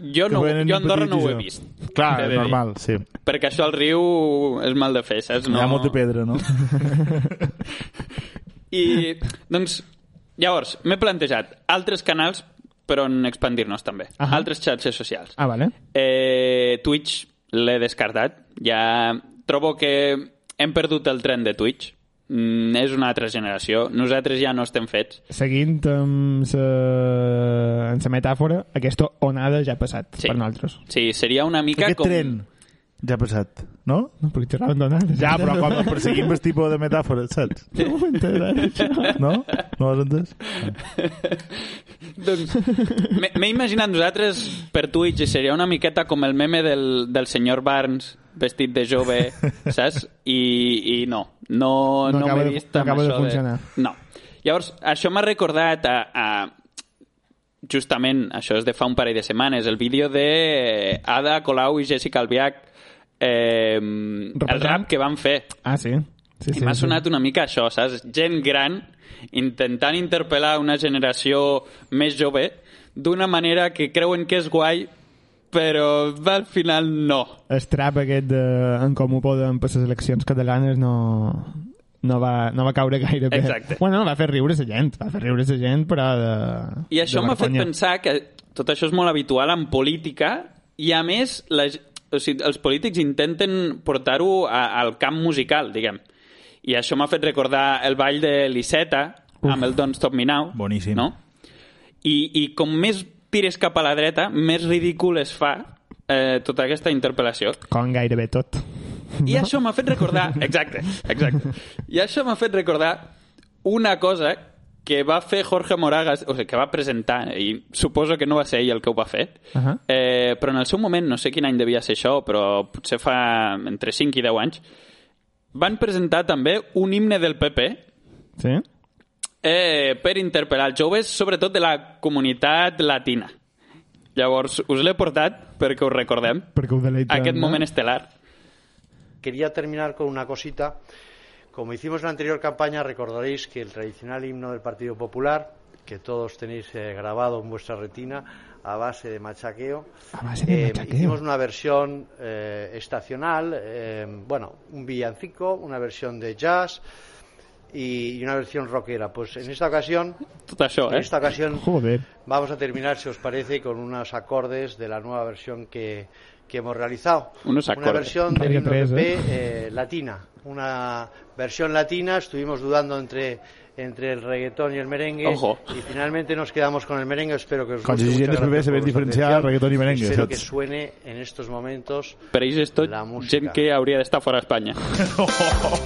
Speaker 3: Jo, no,
Speaker 4: que venen
Speaker 3: jo a Andorra no ho he
Speaker 4: petites,
Speaker 3: vist.
Speaker 4: Clar,
Speaker 3: T'he de
Speaker 4: és
Speaker 3: dir.
Speaker 4: normal, sí.
Speaker 3: Perquè això al riu és mal de fer, saps?
Speaker 4: No.
Speaker 3: No...
Speaker 4: Hi ha molta pedra, no?
Speaker 3: I, doncs, llavors, m'he plantejat altres canals per on expandir-nos també.
Speaker 2: Ahà.
Speaker 3: Uh -huh. Altres xarxes socials.
Speaker 2: Ah, vale.
Speaker 3: Eh, Twitch l'he descartat. Ja trobo que hem perdut el tren de Twitch. Mm, és una altra generació. Nosaltres ja no estem fets.
Speaker 2: Seguint amb sa, amb sa metàfora, aquesta onada ja ha passat
Speaker 3: Sí.
Speaker 2: per nosaltres.
Speaker 3: Sí, seria una mica
Speaker 4: Aquest
Speaker 3: com...
Speaker 4: tren ja ha passat, no?
Speaker 2: No, perquè xerraven d'onades.
Speaker 4: Ja, Ah, però quan el
Speaker 2: [LAUGHS]
Speaker 4: perseguim el tipus de metàfora, saps?
Speaker 2: No ho he entès, ara,
Speaker 4: eh? No? No ho has entès?
Speaker 3: Doncs, m'he- m'he imaginat nosaltres per Twitch i seria una miqueta com el meme del, del senyor Barnes vestit de jove,
Speaker 2: [LAUGHS]
Speaker 3: saps? I, i no, no,
Speaker 2: No
Speaker 3: no, no
Speaker 2: acaba
Speaker 3: m'he
Speaker 2: de-
Speaker 3: vist
Speaker 2: no
Speaker 3: amb
Speaker 2: acaba de
Speaker 3: això
Speaker 2: funcionar.
Speaker 3: No. Llavors, això m'ha recordat a, a, justament, això és de fa un parell de setmanes, el vídeo de eh, Ada Colau i Jessica Albiach eh, el
Speaker 2: Repassant.
Speaker 3: rap que van fer.
Speaker 2: Ah, sí? Sí,
Speaker 3: I m'ha sonat una mica això, saps? Gent gran intentant interpel·lar una generació més jove d'una manera que creuen que és guai, però al final no.
Speaker 2: El trap aquest de en com ho poden per les eleccions catalanes no, no, va, no va caure gaire bé.
Speaker 3: Exacte.
Speaker 2: Bueno, va fer riure la gent, va fer riure la gent, però de...
Speaker 3: I això
Speaker 2: de
Speaker 3: m'ha fet
Speaker 2: vergonya.
Speaker 3: pensar que tot això és molt habitual en política i, a més, la, g- o sigui, els polítics intenten portar-ho a- al camp musical, diguem. I això m'ha fet recordar el ball de l'Iceta amb el Don't Stop Me Now.
Speaker 4: Boníssim.
Speaker 3: No? I, I com més tires cap a la dreta, més ridícul es fa eh, tota aquesta interpel·lació.
Speaker 2: Com gairebé tot.
Speaker 3: I això m'ha fet recordar... Exacte, exacte. I això m'ha fet recordar una cosa que va fer Jorge Moragas, o sigui, que va presentar, i suposo que no va ser ell el que ho va fer,
Speaker 2: Ahà.
Speaker 3: eh, però en el seu moment, no sé quin any devia ser això, però potser fa entre 5 i 10 anys, van presentar també un himne del PP
Speaker 2: Sí?
Speaker 3: eh, per interpel·lar els joves, sobretot de la comunitat latina. Llavors, us l'he portat perquè us recordem
Speaker 2: Perquè ho deleita.
Speaker 3: aquest moment estel·lar.
Speaker 5: Quería terminar con una cosita. Como hicimos en la anterior campaña, recordaréis que el tradicional himno del Partido Popular, que todos tenéis eh, grabado en vuestra retina a base de machaqueo,
Speaker 2: A base de
Speaker 5: eh,
Speaker 2: machaqueo.
Speaker 5: hicimos una versión eh, estacional, eh, bueno, un villancico, una versión de jazz y, y una versión rockera. Pues en esta ocasión,
Speaker 3: Tot això,
Speaker 5: en
Speaker 3: eh?
Speaker 5: esta ocasión
Speaker 2: Joder.
Speaker 5: vamos a terminar, si os parece, con unos acordes de la nueva versión que, que hemos realizado.
Speaker 3: Unos
Speaker 5: una
Speaker 3: acordes.
Speaker 5: versión
Speaker 2: Vaya
Speaker 5: del himno
Speaker 2: tres,
Speaker 5: PP, eh, latina. Una versión latina, estuvimos dudando entre entre el reggaetón y el merengue
Speaker 3: Ojo.
Speaker 5: y finalmente nos quedamos con el merengue espero que os
Speaker 4: Con
Speaker 5: guste
Speaker 4: sus
Speaker 5: Muchas
Speaker 4: siguientes bebés
Speaker 5: gracias
Speaker 4: se
Speaker 5: por
Speaker 4: ven
Speaker 5: vuestra
Speaker 4: diferenciar
Speaker 5: atención.
Speaker 4: reggaetón y merengue, ¿eh?
Speaker 5: espero
Speaker 4: ¿sabes?
Speaker 5: que suene en estos momentos
Speaker 3: Per ells és tot
Speaker 5: La música.
Speaker 3: gent que hauria d'estar fora [LAUGHS] d'Espanya.
Speaker 2: Ojo!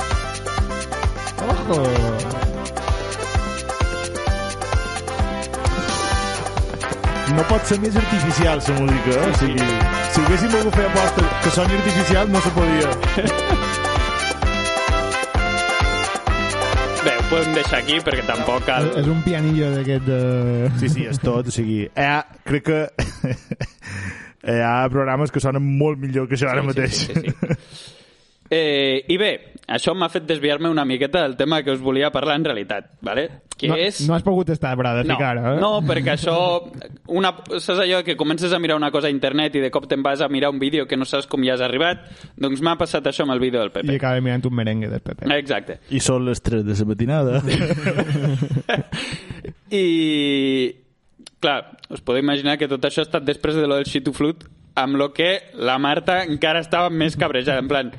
Speaker 4: No pot ser més artificial, la música. Eh? O sigui, si haguéssim volgut fer aposta que soni artificial, no se podia.
Speaker 3: Bé, ho podem deixar aquí perquè tampoc cal...
Speaker 2: És un pianillo d'aquest... eh, De...
Speaker 4: Sí, sí, és tot. O sigui, hi ha, crec que... [LAUGHS] hi ha programes que sonen molt millor que això ara mateix.
Speaker 3: Sí, sí, sí, sí. [LAUGHS] Eh, I bé, això m'ha fet desviar-me una miqueta del tema que us volia parlar en realitat, ¿vale? que
Speaker 2: no,
Speaker 3: és...
Speaker 2: no has pogut estar, bra, de ficar, eh?
Speaker 3: no, perquè això... Una, saps allò que comences a mirar una cosa a internet i de cop te'n vas a mirar un vídeo que no saps com hi has arribat? Doncs m'ha passat això amb el vídeo del
Speaker 2: I
Speaker 3: Pepe.
Speaker 2: acaba mirant un merengue del Pepe.
Speaker 3: Exacte.
Speaker 4: I són les 3 de la [LAUGHS] matinada.
Speaker 3: I, clar, us podeu imaginar que tot això ha estat després de lo del shit to flut, amb lo que la Marta encara estava més cabrejada, en plan,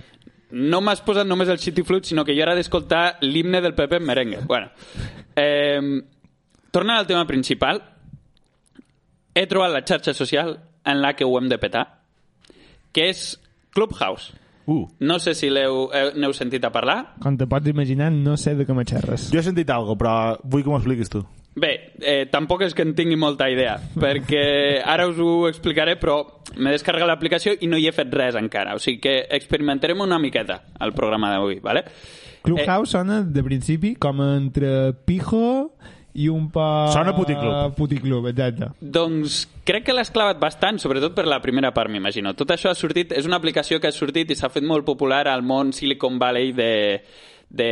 Speaker 3: no m'has posat només el shit to flut, sinó que jo era d'escoltar l'himne del Pepe en merengue. Bueno, eh, tornant al tema principal, he trobat la xarxa social en la que ho hem de petar, que és Clubhouse.
Speaker 4: Uh.
Speaker 3: No sé si l'heu eh, n'heu sentit a parlar,
Speaker 2: Com te pots imaginar, no sé de què m'aixerres.
Speaker 4: Jo he sentit alguna però vull que m'ho expliquis tu.
Speaker 3: Bé, eh, tampoc és que en tingui molta idea, perquè ara us ho explicaré, però m'he descarregat l'aplicació i no hi he fet res encara. O sigui que experimentarem una miqueta al programa d'avui, ¿vale?
Speaker 4: Eh.
Speaker 2: Clubhouse sona, de principi, com entre pijo i un pa...
Speaker 4: Sona puticlub.
Speaker 2: Puticlub, exacte.
Speaker 3: Doncs crec que l'has clavat bastant, sobretot per la primera part, m'imagino. Tot això ha sortit, és una aplicació que ha sortit i s'ha fet molt popular al món Silicon Valley de... de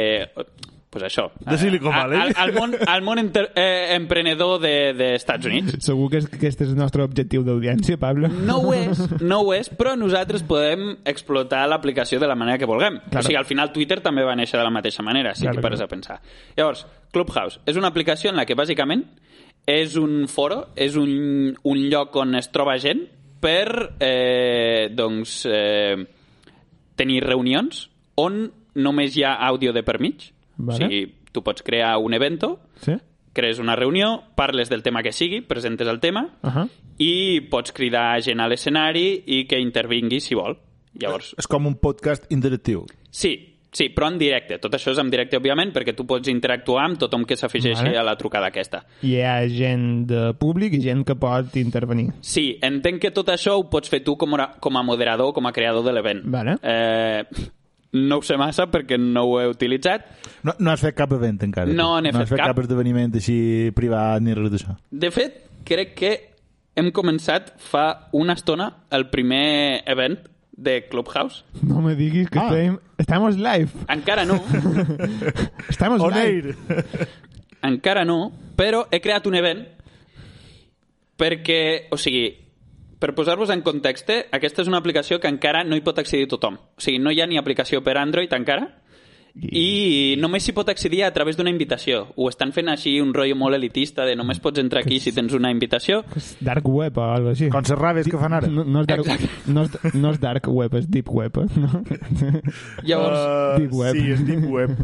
Speaker 3: pues això.
Speaker 4: De Silicon Valley.
Speaker 3: Al, al món, al món enter, eh, emprenedor d'Estats de, Estats Units.
Speaker 2: Segur que, és, que este és el nostre objectiu d'audiència, Pablo.
Speaker 3: No ho és, no ho és, però nosaltres podem explotar l'aplicació de la manera que vulguem.
Speaker 2: Claro.
Speaker 3: O sigui, al final Twitter també va néixer de la mateixa manera, si
Speaker 2: Claro,
Speaker 3: t'hi pares
Speaker 2: claro.
Speaker 3: a pensar. Llavors, Clubhouse és una aplicació en la que bàsicament és un foro, és un, un lloc on es troba gent per eh, doncs, eh, tenir reunions on només hi ha àudio de per mig.
Speaker 2: Vale.
Speaker 3: O sigui, tu pots crear un evento,
Speaker 2: Sí?
Speaker 3: crees una reunió, parles del tema que sigui, presentes el tema,
Speaker 2: Uh -huh.
Speaker 3: i pots cridar gent a l'escenari i que intervingui si vol. Llavors,
Speaker 4: És com un podcast interactiu.
Speaker 3: sí, sí, però en directe. Tot això és en directe, òbviament, perquè tu pots interactuar amb tothom que s'afegeixi
Speaker 2: Vale.
Speaker 3: a la trucada aquesta.
Speaker 2: Hi ha gent de públic i gent que pot intervenir.
Speaker 3: Sí, entenc que tot això ho pots fer tu com a, com a moderador, com a creador de l'event.
Speaker 2: Vale.
Speaker 3: Eh, no ho sé massa perquè no ho he utilitzat.
Speaker 4: No, no has fet cap event encara. tu.
Speaker 3: No n'he
Speaker 4: no
Speaker 3: fet
Speaker 4: has fet
Speaker 3: cap.
Speaker 4: cap esdeveniment així privat ni res d'això.
Speaker 3: De fet, crec que hem començat fa una estona el primer event de Clubhouse.
Speaker 2: No me diguis que
Speaker 4: Ah.
Speaker 2: estem... Estamos live.
Speaker 3: Encara no,
Speaker 2: Estamos
Speaker 4: On
Speaker 2: live.
Speaker 4: air!
Speaker 3: Encara no, però he creat un event perquè, o sigui, per posar-vos en context, eh, aquesta és una aplicació que encara no hi pot accedir tothom. O sigui, no hi ha ni aplicació per Android encara, i només s'hi pot accedir a través d'una invitació. Ho estan fent així un rotllo molt elitista de només pots entrar aquí si tens una invitació.
Speaker 2: Dark web o alguna així.
Speaker 4: Com les raves que fan ara.
Speaker 2: No, no, és dark, no, és, no és dark web, és deep web.
Speaker 4: [LAUGHS]
Speaker 2: Eh? No?
Speaker 3: Llavors,
Speaker 4: Eh,
Speaker 2: Deep web.
Speaker 4: Sí, és Deep Web.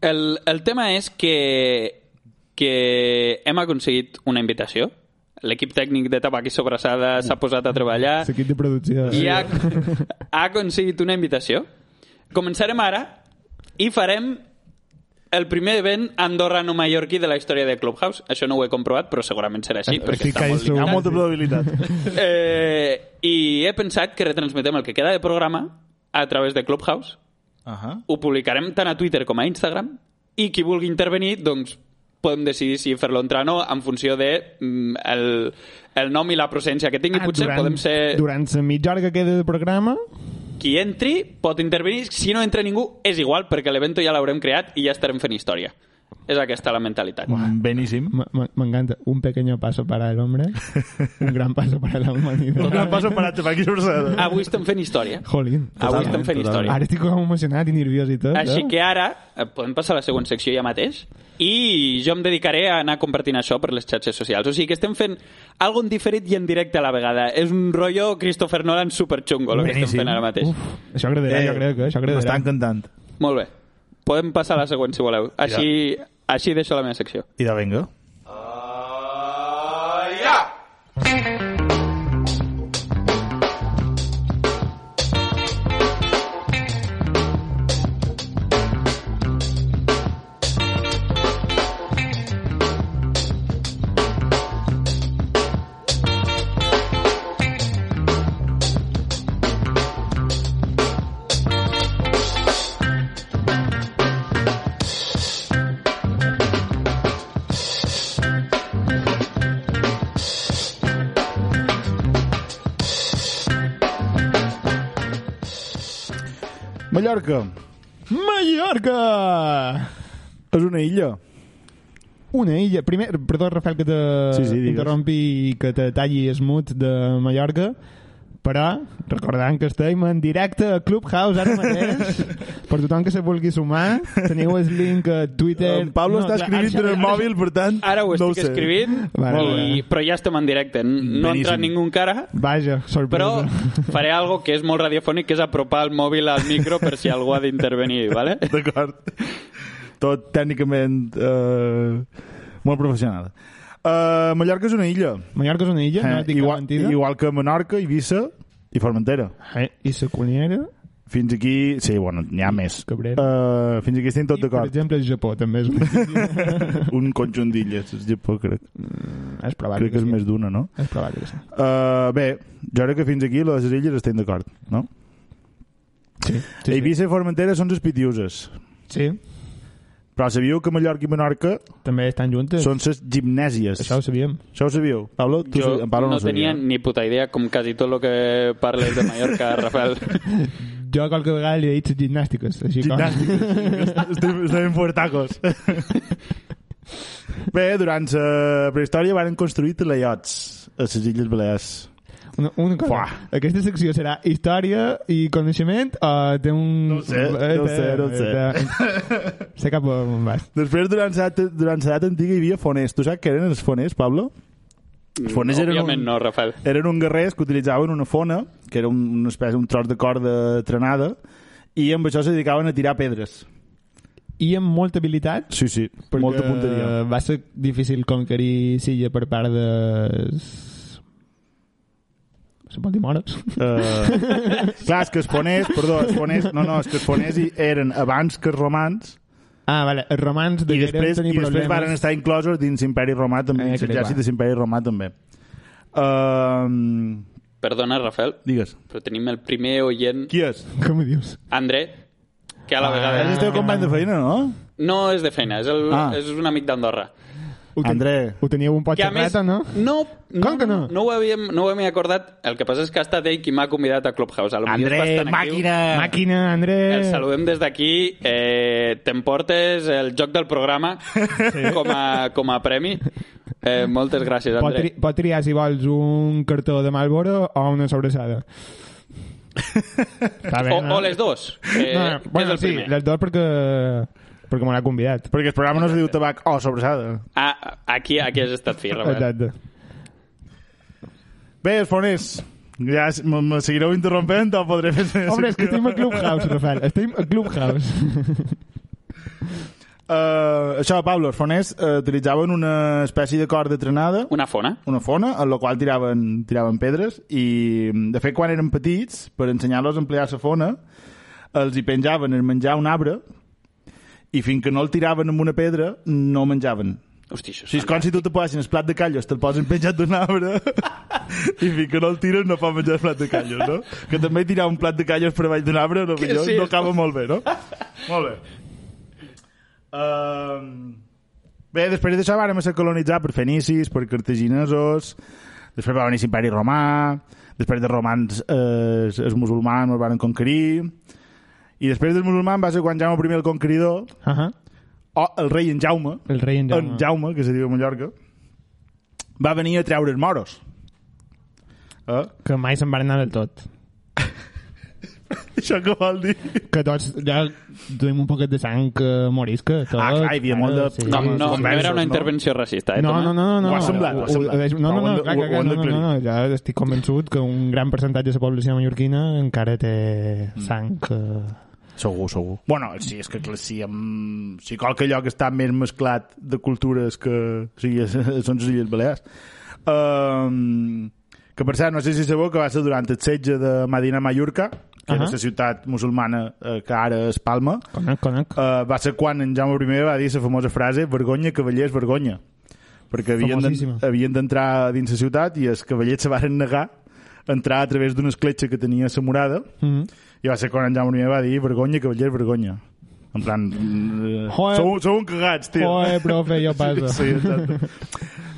Speaker 3: el, el tema és que, que hem aconseguit una invitació. L'equip tècnic de Tabac i Sobrassada s'ha posat a treballar.
Speaker 2: L'equip de producció.
Speaker 3: i ha, ha aconseguit una invitació. Començarem ara i farem el primer event andorrano-mallorquí de la història de Clubhouse. Això no ho he comprovat, però segurament serà així,
Speaker 2: Eh,
Speaker 3: perquè
Speaker 2: sí que
Speaker 3: està molt
Speaker 2: hi sou-
Speaker 4: Hi ha
Speaker 3: limitat.
Speaker 4: molta probabilitat.
Speaker 3: Eh, I he pensat que retransmetem el que queda de programa a través de Clubhouse.
Speaker 4: Ahà.
Speaker 3: Ho publicarem tant a Twitter com a Instagram i qui vulgui intervenir, doncs, podem decidir si fer-lo entrar o no en funció de mm, el, el nom i la presència que tingui. Potser
Speaker 2: Ah, durant,
Speaker 3: podem ser...
Speaker 2: Durant la mitja hora que queda de programa,
Speaker 3: qui entri pot intervenir, si no entra ningú és igual perquè l'evento ja l'haurem creat i ja estarem fent història. És aquesta la mentalitat.
Speaker 4: Mm, Beníssim.
Speaker 2: m- m- m'encanta. Un pequeño paso para el hombre, un gran paso para la humanidad.
Speaker 4: Tot el passo parat per aquí sobre la...
Speaker 3: Avui estem fent història.
Speaker 2: Jolín.
Speaker 3: Avui
Speaker 4: Totalment,
Speaker 3: estem fent
Speaker 4: totalment.
Speaker 3: història.
Speaker 2: Ara estic com emocionat i nerviós i tot.
Speaker 3: Així
Speaker 2: eh?
Speaker 3: que ara eh, podem passar a la següent secció ja mateix i jo em dedicaré a anar compartint això per les xarxes socials. O sigui que estem fent algun diferit i en directe a la vegada. És un rotllo Christopher Nolan superxungo el que estem
Speaker 4: Beníssim.
Speaker 3: fent ara mateix.
Speaker 2: Uf, això agradarà, jo crec, eh? Això
Speaker 4: M'està
Speaker 2: agradarà.
Speaker 4: encantant.
Speaker 3: Molt bé. Podem passar a la següent, si voleu. Així, així deixo la meva secció.
Speaker 4: I de venga. Mallorca.
Speaker 2: Mallorca!
Speaker 4: És una illa.
Speaker 2: Una illa... Primer, perdó, Rafael, que te
Speaker 4: Sí, sí, digues.
Speaker 2: interrompi i que te talli el mut de Mallorca, però recordant que estem en directe a Clubhouse ara
Speaker 4: [LAUGHS]
Speaker 2: mateix, per tothom que se vulgui sumar, teniu el link a Twitter...
Speaker 4: En Eh, Pablo està
Speaker 2: clar,
Speaker 4: escrivint en
Speaker 2: Eh, ara-
Speaker 4: el mòbil, per tant,
Speaker 3: Ara ho
Speaker 4: no
Speaker 3: estic
Speaker 4: sé.
Speaker 3: escrivint,
Speaker 2: Vale,
Speaker 3: i,
Speaker 2: vale.
Speaker 3: però ja estem en directe. No ha entrat
Speaker 4: Beníssim.
Speaker 3: ningú encara,
Speaker 2: Vaja, sorpresa.
Speaker 3: però faré algo que és molt radiofònic, que és apropar el mòbil al micro per si algú ha d'intervenir, ¿vale?
Speaker 4: [LAUGHS] D'acord. Tot tècnicament eh, molt professional. Eh, Mallorca és una illa.
Speaker 2: Mallorca és una illa, no
Speaker 4: Eh,
Speaker 2: et dic
Speaker 4: igual,
Speaker 2: cap mentida.
Speaker 4: igual que Menorca, Eivissa i Formentera.
Speaker 2: Eh, I la cunyera,
Speaker 4: Fins aquí... Sí, bueno, n'hi ha més.
Speaker 2: Cabrera.
Speaker 4: Uh, fins aquí estem tot
Speaker 2: i per
Speaker 4: d'acord.
Speaker 2: exemple el Japó també és una
Speaker 4: [LAUGHS]
Speaker 2: illa.
Speaker 4: Un conjunt d'illes, és Japó, crec.
Speaker 2: és probable
Speaker 4: crec que és
Speaker 2: Ah, sí.
Speaker 4: més d'una, no?
Speaker 2: És probable que sí.
Speaker 4: Uh, bé, jo crec que fins aquí les illes estem d'acord, no?
Speaker 2: Sí,
Speaker 4: Sí,
Speaker 2: sí, sí.
Speaker 4: Eivissa i Formentera són les pitiuses.
Speaker 2: sí.
Speaker 4: Però sabíeu que Mallorca i Menorca
Speaker 2: També estan juntes.
Speaker 4: són les gimnèsies.
Speaker 2: Això ho sabíem.
Speaker 4: Això ho sabíeu? Pablo, tu
Speaker 3: Jo
Speaker 4: sa- en Pablo
Speaker 3: no
Speaker 4: no, ho sabia.
Speaker 3: tenia ni puta idea, com quasi tot el que parles de
Speaker 4: [LAUGHS]
Speaker 3: Mallorca, Rafael.
Speaker 2: Jo qualque vegada li he dit gimnàstiques. Així
Speaker 4: Gimnàstiques. [LAUGHS] estem, estem en [LAUGHS] puertacos. Bé, durant la prehistòria van construir teleiots a les Illes Balears.
Speaker 2: Com, una, una cosa.
Speaker 4: Fuà.
Speaker 2: Aquesta secció serà història i coneixement o té un... Eh,
Speaker 4: No ho sé, no ho sé, no ho sé.
Speaker 2: sé. Sé cap on vas.
Speaker 4: Després, durant l'edat durant l'edat antiga hi havia foners. Tu saps què eren els foners, Pablo? Els foners eren
Speaker 3: Òbviament
Speaker 4: un,
Speaker 3: no, Rafael.
Speaker 4: eren un guerrers que utilitzaven una fona, que era un, una espècie, un tros de corda trenada, i amb això es dedicaven a tirar pedres.
Speaker 2: I amb molta habilitat,
Speaker 4: Sí, sí,
Speaker 2: perquè
Speaker 4: molta punteria.
Speaker 2: va ser difícil conquerir Silla per part de... Se pot dir moros?
Speaker 4: Uh, clar, és que els foners, perdó, els foners, no, no, és que els foners hi eren abans que els romans,
Speaker 2: Ah, vale, els romans
Speaker 4: i
Speaker 2: degueren
Speaker 4: després,
Speaker 2: tenir
Speaker 4: i després
Speaker 2: problemes.
Speaker 4: varen estar inclosos dins l'imperi romà també,
Speaker 2: Eh,
Speaker 4: dins
Speaker 2: crec,
Speaker 4: l'exèrcit
Speaker 2: va.
Speaker 4: de l'imperi romà també uh,
Speaker 3: Perdona, Rafael,
Speaker 4: digues
Speaker 3: però tenim el primer oient,
Speaker 4: qui és?
Speaker 2: Com ho dius?
Speaker 3: André, que a
Speaker 2: Ah.
Speaker 3: la
Speaker 4: és el
Speaker 3: vegada...
Speaker 4: teu company de feina, no?
Speaker 3: No és de feina, és, el,
Speaker 4: Ah.
Speaker 3: és un amic d'Andorra.
Speaker 2: Ho ten-
Speaker 4: André.
Speaker 2: Ho teníeu un pot
Speaker 3: Que a
Speaker 2: xerrat, o no?
Speaker 3: No, no,
Speaker 2: Com que no?
Speaker 3: No ho, havíem, no ho havíem acordat. El que passa és que ha estat ell qui m'ha convidat a Clubhouse. A lo millor és bastant actiu.
Speaker 2: Màquina, André!
Speaker 3: El saludem des d'aquí. Eh, T'emportes el joc del programa com, a, com a premi. Eh, moltes gràcies,
Speaker 2: Pot, tri
Speaker 3: André.
Speaker 2: pot triar, si vols, un cartó de Malboro o una sobressada. Està
Speaker 3: O,
Speaker 2: no?
Speaker 3: o les dos. Eh,
Speaker 2: No, no, bueno,
Speaker 3: és el
Speaker 2: sí,
Speaker 3: primer.
Speaker 2: les dos perquè, perquè me l'ha convidat.
Speaker 4: perquè el programa no es diu tabac o oh, sobressada
Speaker 3: Ah, aquí, aquí has estat fi, Robert.
Speaker 2: Exacte.
Speaker 4: bé, els foners ja s- me, me seguireu interrompent o podré fer la
Speaker 2: Home, és que
Speaker 4: secció?
Speaker 2: estem a Clubhouse, Rafael. Estem a Clubhouse.
Speaker 4: Eh, això, Pablo, els foners eh, utilitzaven una espècie de corda trenada
Speaker 3: Una fona.
Speaker 4: una fona en la qual tiraven, tiraven pedres i de fet quan eren petits per ensenyar-los a emplear la fona els hi penjaven en menjar un arbre i fins que no el tiraven amb una pedra no menjaven
Speaker 3: Hosti, això
Speaker 4: o
Speaker 3: és
Speaker 4: sigui, és com si tu te posessin el plat de callos te'l posen penjat d'un arbre [LAUGHS] i fins que no el tires no pot menjar el plat de callos no? que també tirar un plat de callos per avall d'un arbre no, millor,
Speaker 3: sí,
Speaker 4: no
Speaker 3: és-
Speaker 4: acaba molt bé no? molt bé um... Bé, després d'això vàrem ser colonitzats per fenicis, per cartaginesos, després va venir l'imperi romà, després dels romans eh, els- els musulmans els van conquerir, i després dels musulmans va ser quan Jaume I el Conqueridor,
Speaker 2: Uh -huh.
Speaker 4: o el rei en Jaume,
Speaker 2: El rei en Jaume.
Speaker 4: en Jaume, que se diu a Mallorca, va venir a treure els moros. Eh?
Speaker 2: Que mai se'n van anar del tot.
Speaker 4: Això què vol dir?
Speaker 2: Que tots ja duim un poquet de sang eh, morisca. Tot,
Speaker 4: Ah, clar, hi havia molt de-
Speaker 3: No,
Speaker 4: Com-
Speaker 3: no, no
Speaker 4: Conversos,
Speaker 3: era una
Speaker 4: no?
Speaker 3: intervenció racista, eh,
Speaker 2: No,
Speaker 3: Tomàs?
Speaker 2: no, no, no, no.
Speaker 4: Ho ha semblat, ho ha
Speaker 2: Ho- ho-
Speaker 4: semblat.
Speaker 2: ho- No, no,
Speaker 4: Ho hem
Speaker 2: no,
Speaker 4: de-
Speaker 2: clar, clar,
Speaker 4: ho hem
Speaker 2: clar, no, no,
Speaker 4: d'aclarir.
Speaker 2: no, ja estic convençut que un gran percentatge de la població mallorquina encara té
Speaker 4: Mm.
Speaker 2: sang eh,
Speaker 4: Segur, segur. Bueno, sí, és que clar, si, amb, si qualque lloc està més mesclat de cultures que o sigui, [LAUGHS] són les Illes Balears. Um, que per cert, no sé si sabeu que va ser durant el setge de Medina Mallorca, que uh -huh.
Speaker 2: Ahà.
Speaker 4: era la ciutat musulmana eh, que ara és Palma,
Speaker 2: Conec, conec.
Speaker 4: eh, va ser quan en Jaume I va dir la famosa frase vergonya, cavallers, vergonya. Perquè havien
Speaker 2: Famosíssima.
Speaker 4: d'en- havien d'entrar dins la ciutat i els cavallers se varen negar a entrar a través d'una escletxa que tenia la morada
Speaker 2: Mm -hmm.
Speaker 4: i va ser quan en Jaume I va dir vergonya, cavaller, vergonya. En plan... eh,
Speaker 2: Joder.
Speaker 4: Sou, sou un cagats, tio.
Speaker 2: Oe, profe, jo passo.
Speaker 4: [LAUGHS] Sí, exacte.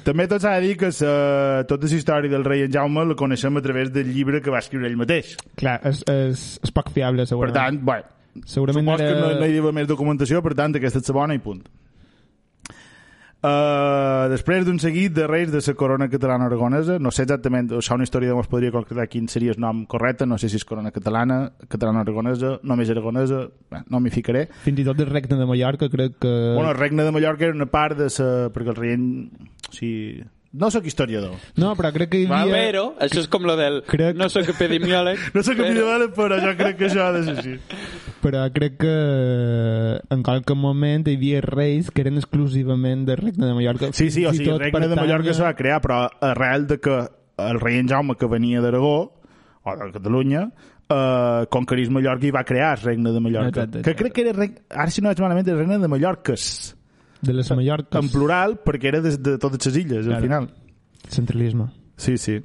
Speaker 4: També tot s'ha de dir que sa, tota la història del rei en Jaume la coneixem a través del llibre que va escriure ell mateix.
Speaker 2: Clar, és, és, és poc fiable,
Speaker 4: Per
Speaker 2: segurament.
Speaker 4: tant, bueno,
Speaker 2: Segurament
Speaker 4: Supos
Speaker 2: era...
Speaker 4: que no, no hi havia més documentació, per tant, aquesta és la bona i punt. Uh, després d'un seguit de reis de la corona catalana aragonesa, no sé exactament, o sigui, una història que ens podria concretar quin seria el nom correcte, no sé si és corona catalana, catalana aragonesa, només aragonesa, bé, no m'hi ficaré.
Speaker 2: Fins i tot del regne de Mallorca crec que...
Speaker 4: Bueno, el regne de Mallorca era una part de la... perquè el rei... O sigui, no sóc historiador.
Speaker 2: No, però crec que hi
Speaker 3: Va,
Speaker 2: havia...
Speaker 3: però, això és com lo del...
Speaker 2: Crec-
Speaker 3: No sóc
Speaker 2: [LAUGHS]
Speaker 3: epidemiòleg.
Speaker 4: No sóc
Speaker 3: però-
Speaker 4: opinió, però jo crec que això ha de ser així.
Speaker 2: Però crec que eh, en qualque moment hi havia reis que eren exclusivament del regne de Mallorca.
Speaker 4: Sí, sí, o
Speaker 2: Fins i
Speaker 4: sigui, el
Speaker 2: tot
Speaker 4: regne de
Speaker 2: pertànyer-
Speaker 4: Mallorca se va crear, però arrel de que el rei en Jaume, que venia d'Aragó, o de Catalunya, eh, conquerís Mallorca i va crear el regne de Mallorca.
Speaker 2: Exacte,
Speaker 4: Que
Speaker 2: exacte.
Speaker 4: crec que era, reg... ara si no vaig malament, era el regne de Mallorques,
Speaker 2: De les Mallorques.
Speaker 4: en plural, perquè era des de totes les illes,
Speaker 2: Claro.
Speaker 4: al final.
Speaker 2: Centralisme.
Speaker 4: Sí, sí,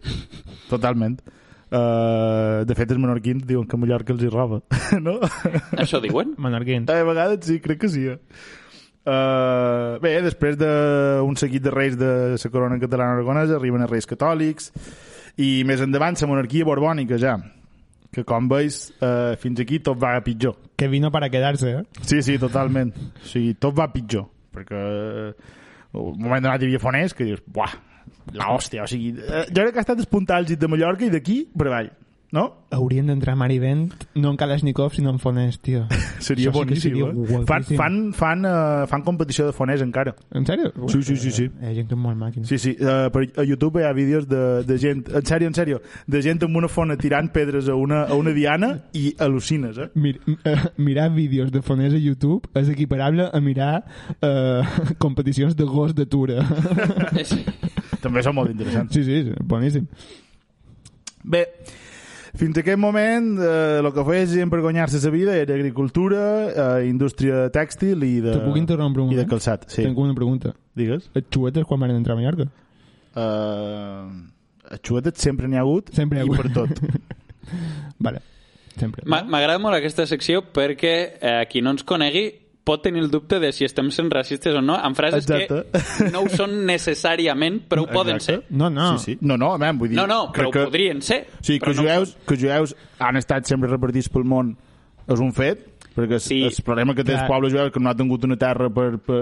Speaker 4: totalment. Uh, de fet, els menorquins diuen que Mallorca els hi roba, [LAUGHS] no?
Speaker 3: Això
Speaker 2: [LAUGHS]
Speaker 3: diuen?
Speaker 2: Menorquins.
Speaker 4: A vegades sí, crec que sí. Eh? Uh, bé, després d'un seguit de reis de la corona catalana aragonesa arriben els reis catòlics i més endavant la monarquia borbònica ja que com veus uh, fins aquí tot va a pitjor
Speaker 2: Que vino para quedarse, eh?
Speaker 4: sí, sí, totalment o sigui, tot va a pitjor perquè eh, un moment donat hi havia foners que dius, buah, la hòstia o sigui, eh, jo crec que ha estat el punt àlgid de Mallorca i d'aquí per avall, no?
Speaker 2: Haurien d'entrar a Marivent, no en Kalashnikov, sinó en Fonés, tio.
Speaker 4: [LAUGHS]
Speaker 2: Això
Speaker 4: seria
Speaker 2: sí que
Speaker 4: boníssim
Speaker 2: seria
Speaker 4: eh? fan,
Speaker 2: guapíssim.
Speaker 4: fan, fan, eh, fan competició de foners encara
Speaker 2: En sèrio?
Speaker 4: Sí, sí, sí, sí.
Speaker 2: Hi ha Eh, gent que és molt màquina.
Speaker 4: Sí, sí, uh, per a YouTube hi ha vídeos de, de gent, en sèrio, en sèrio, de gent amb una fona tirant pedres a una, a una diana i al·lucines, eh?
Speaker 2: Mir eh, mirar vídeos de fonès a YouTube és equiparable a mirar eh, [LAUGHS] competicions de gos de
Speaker 4: [LAUGHS]
Speaker 2: tura.
Speaker 3: És-
Speaker 4: També són molt interessants.
Speaker 2: sí, sí, sí, boníssim.
Speaker 4: Bé, fins a aquest moment eh, el que feia gent per guanyar-se la vida era agricultura, eh, indústria tèxtil i de,
Speaker 2: Te puc interrompre un
Speaker 4: i
Speaker 2: moment?
Speaker 4: de calçat. Sí,
Speaker 2: Tenc una pregunta.
Speaker 4: digues.
Speaker 2: Els xuetes quan van entrar a Mallorca?
Speaker 4: Uh, xuetes sempre n'hi ha hagut
Speaker 2: Sempre hi ha
Speaker 4: i
Speaker 2: hagut.
Speaker 4: per tot.
Speaker 2: [LAUGHS] Vale, sempre.
Speaker 3: M'a- M'agrada molt aquesta secció perquè eh, qui no ens conegui pot tenir el dubte de si estem sent racistes o no amb frases
Speaker 4: Exacte.
Speaker 3: que [LAUGHS] no ho són necessàriament, però ho poden
Speaker 4: Exacte.
Speaker 2: No, no.
Speaker 4: Sí, sí. No, no, man, vull dir...
Speaker 3: ser. No, no, però
Speaker 4: crec que-
Speaker 3: ho podrien ser.
Speaker 4: O sigui, que
Speaker 3: però no ho
Speaker 4: jueus, que jueus han estat sempre repartits pel món és un fet, perquè és,
Speaker 3: Sí.
Speaker 4: el problema que té el
Speaker 2: Clar.
Speaker 4: poble jueu és que no ha tingut una terra per, per...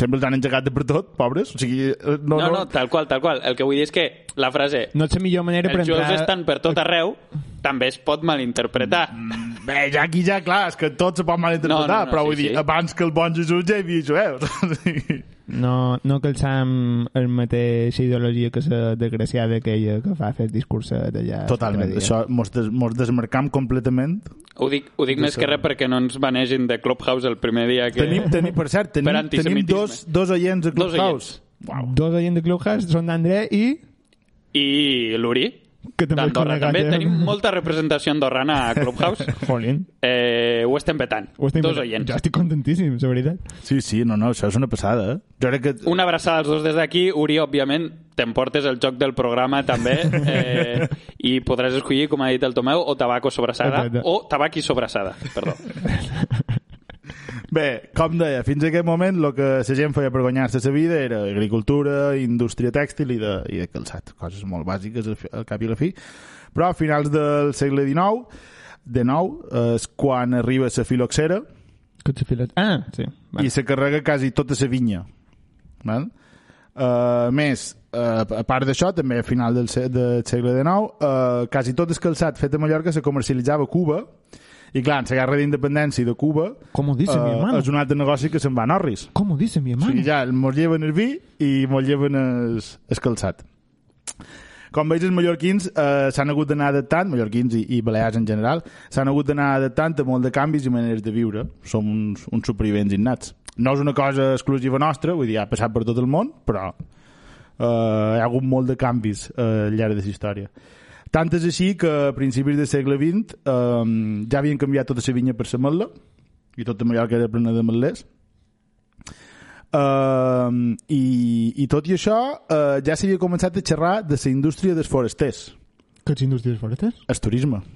Speaker 4: sempre els han engegat de per tot, pobres. O sigui, eh, no,
Speaker 3: No, no, tal qual, tal qual. El que vull dir és que la frase
Speaker 2: No és la millor manera per
Speaker 3: els jueus
Speaker 2: entrar...
Speaker 3: estan per tot arreu també es pot malinterpretar.
Speaker 4: Bé, ja aquí ja, clar, és que tot se pot malinterpretar,
Speaker 3: No, no, no,
Speaker 4: però
Speaker 3: sí,
Speaker 4: vull dir,
Speaker 3: sí.
Speaker 4: abans que el bon Jesús ja hi havia jueus. [LAUGHS] O sigui,
Speaker 2: No, no calçam el mateix ideologia que la desgraciada aquella que fa fer el discurset allà.
Speaker 4: Totalment,
Speaker 2: l'altre dia.
Speaker 4: això mos, des, mos desmarcam completament.
Speaker 3: Ho dic, ho dic més que res perquè no ens manegin de Clubhouse el primer dia que...
Speaker 4: Tenim, tenim, per cert,
Speaker 3: Per
Speaker 4: tenim, tenim
Speaker 3: antisemitisme.
Speaker 4: dos, dos oients a
Speaker 3: Dos
Speaker 4: Clubhouse. Uau.
Speaker 2: Dos oients de Clubhouse són d'André i...
Speaker 3: I l'Uri,
Speaker 2: Que també
Speaker 3: d'Andorra.
Speaker 2: és
Speaker 3: També
Speaker 2: conegat, eh?
Speaker 3: tenim molta representació andorrana a
Speaker 4: [LAUGHS]
Speaker 3: Clubhouse.
Speaker 2: [LAUGHS] Jolín.
Speaker 3: Eh, ho estem petant.
Speaker 2: Ho estem
Speaker 3: Dos
Speaker 2: inventant.
Speaker 3: oients.
Speaker 2: Jo estic contentíssim, la veritat.
Speaker 4: Sí, sí, no, no, això és una passada. eh? Jo crec que...
Speaker 3: Una abraçada als dos des d'aquí. Uri, òbviament, t'emportes el joc del programa també eh, i podràs escollir, com ha dit el Tomeu, o tabaco sobrassada
Speaker 2: Exacte.
Speaker 3: o tabaqui sobrassada, perdó.
Speaker 4: Bé, com deia, fins a aquest moment el que la gent feia per guanyar-se la vida era agricultura, indústria tèxtil i de, i de calçat, coses molt bàsiques al, fi- al cap i a la fi. Però a finals del segle XIX, de nou, és quan arriba la filoxera
Speaker 2: Que ets filat. Ah, sí.
Speaker 4: vale.
Speaker 2: Vale.
Speaker 4: i se carrega quasi tota la vinya. Val? Uh, més, uh, a part d'això, també a final del, se del segle XIX, uh, quasi tot el calçat fet a Mallorca se comercialitzava a Cuba i clar, en la guerra d'independència de Cuba eh,
Speaker 2: Com ho dice mi hermano.
Speaker 4: és un altre negoci que se'n va a Norris.
Speaker 2: Com ho dice mi
Speaker 4: O
Speaker 2: hermano?
Speaker 4: sigui, ja mos lleven el vi i mos lleven el, el calçat. Com veig, els mallorquins eh, s'han hagut d'anar adaptant, mallorquins i, i balears en general, s'han hagut d'anar adaptant a molt de canvis i maneres de viure. Som uns, uns supervivents innats. No és una cosa exclusiva nostra, vull dir, ha passat per tot el món, però eh, hi ha hagut molt de canvis eh, al llarg de la història. Tant és així que a principis del segle XX eh, ja havien canviat tota la vinya per la metla, i tota Mallorca era plena de metlers, Uh, i, I tot i això, uh, ja s'havia començat a xerrar de la indústria dels foresters,
Speaker 2: Que ets indústries fortes?
Speaker 4: el turisme.
Speaker 3: Ah,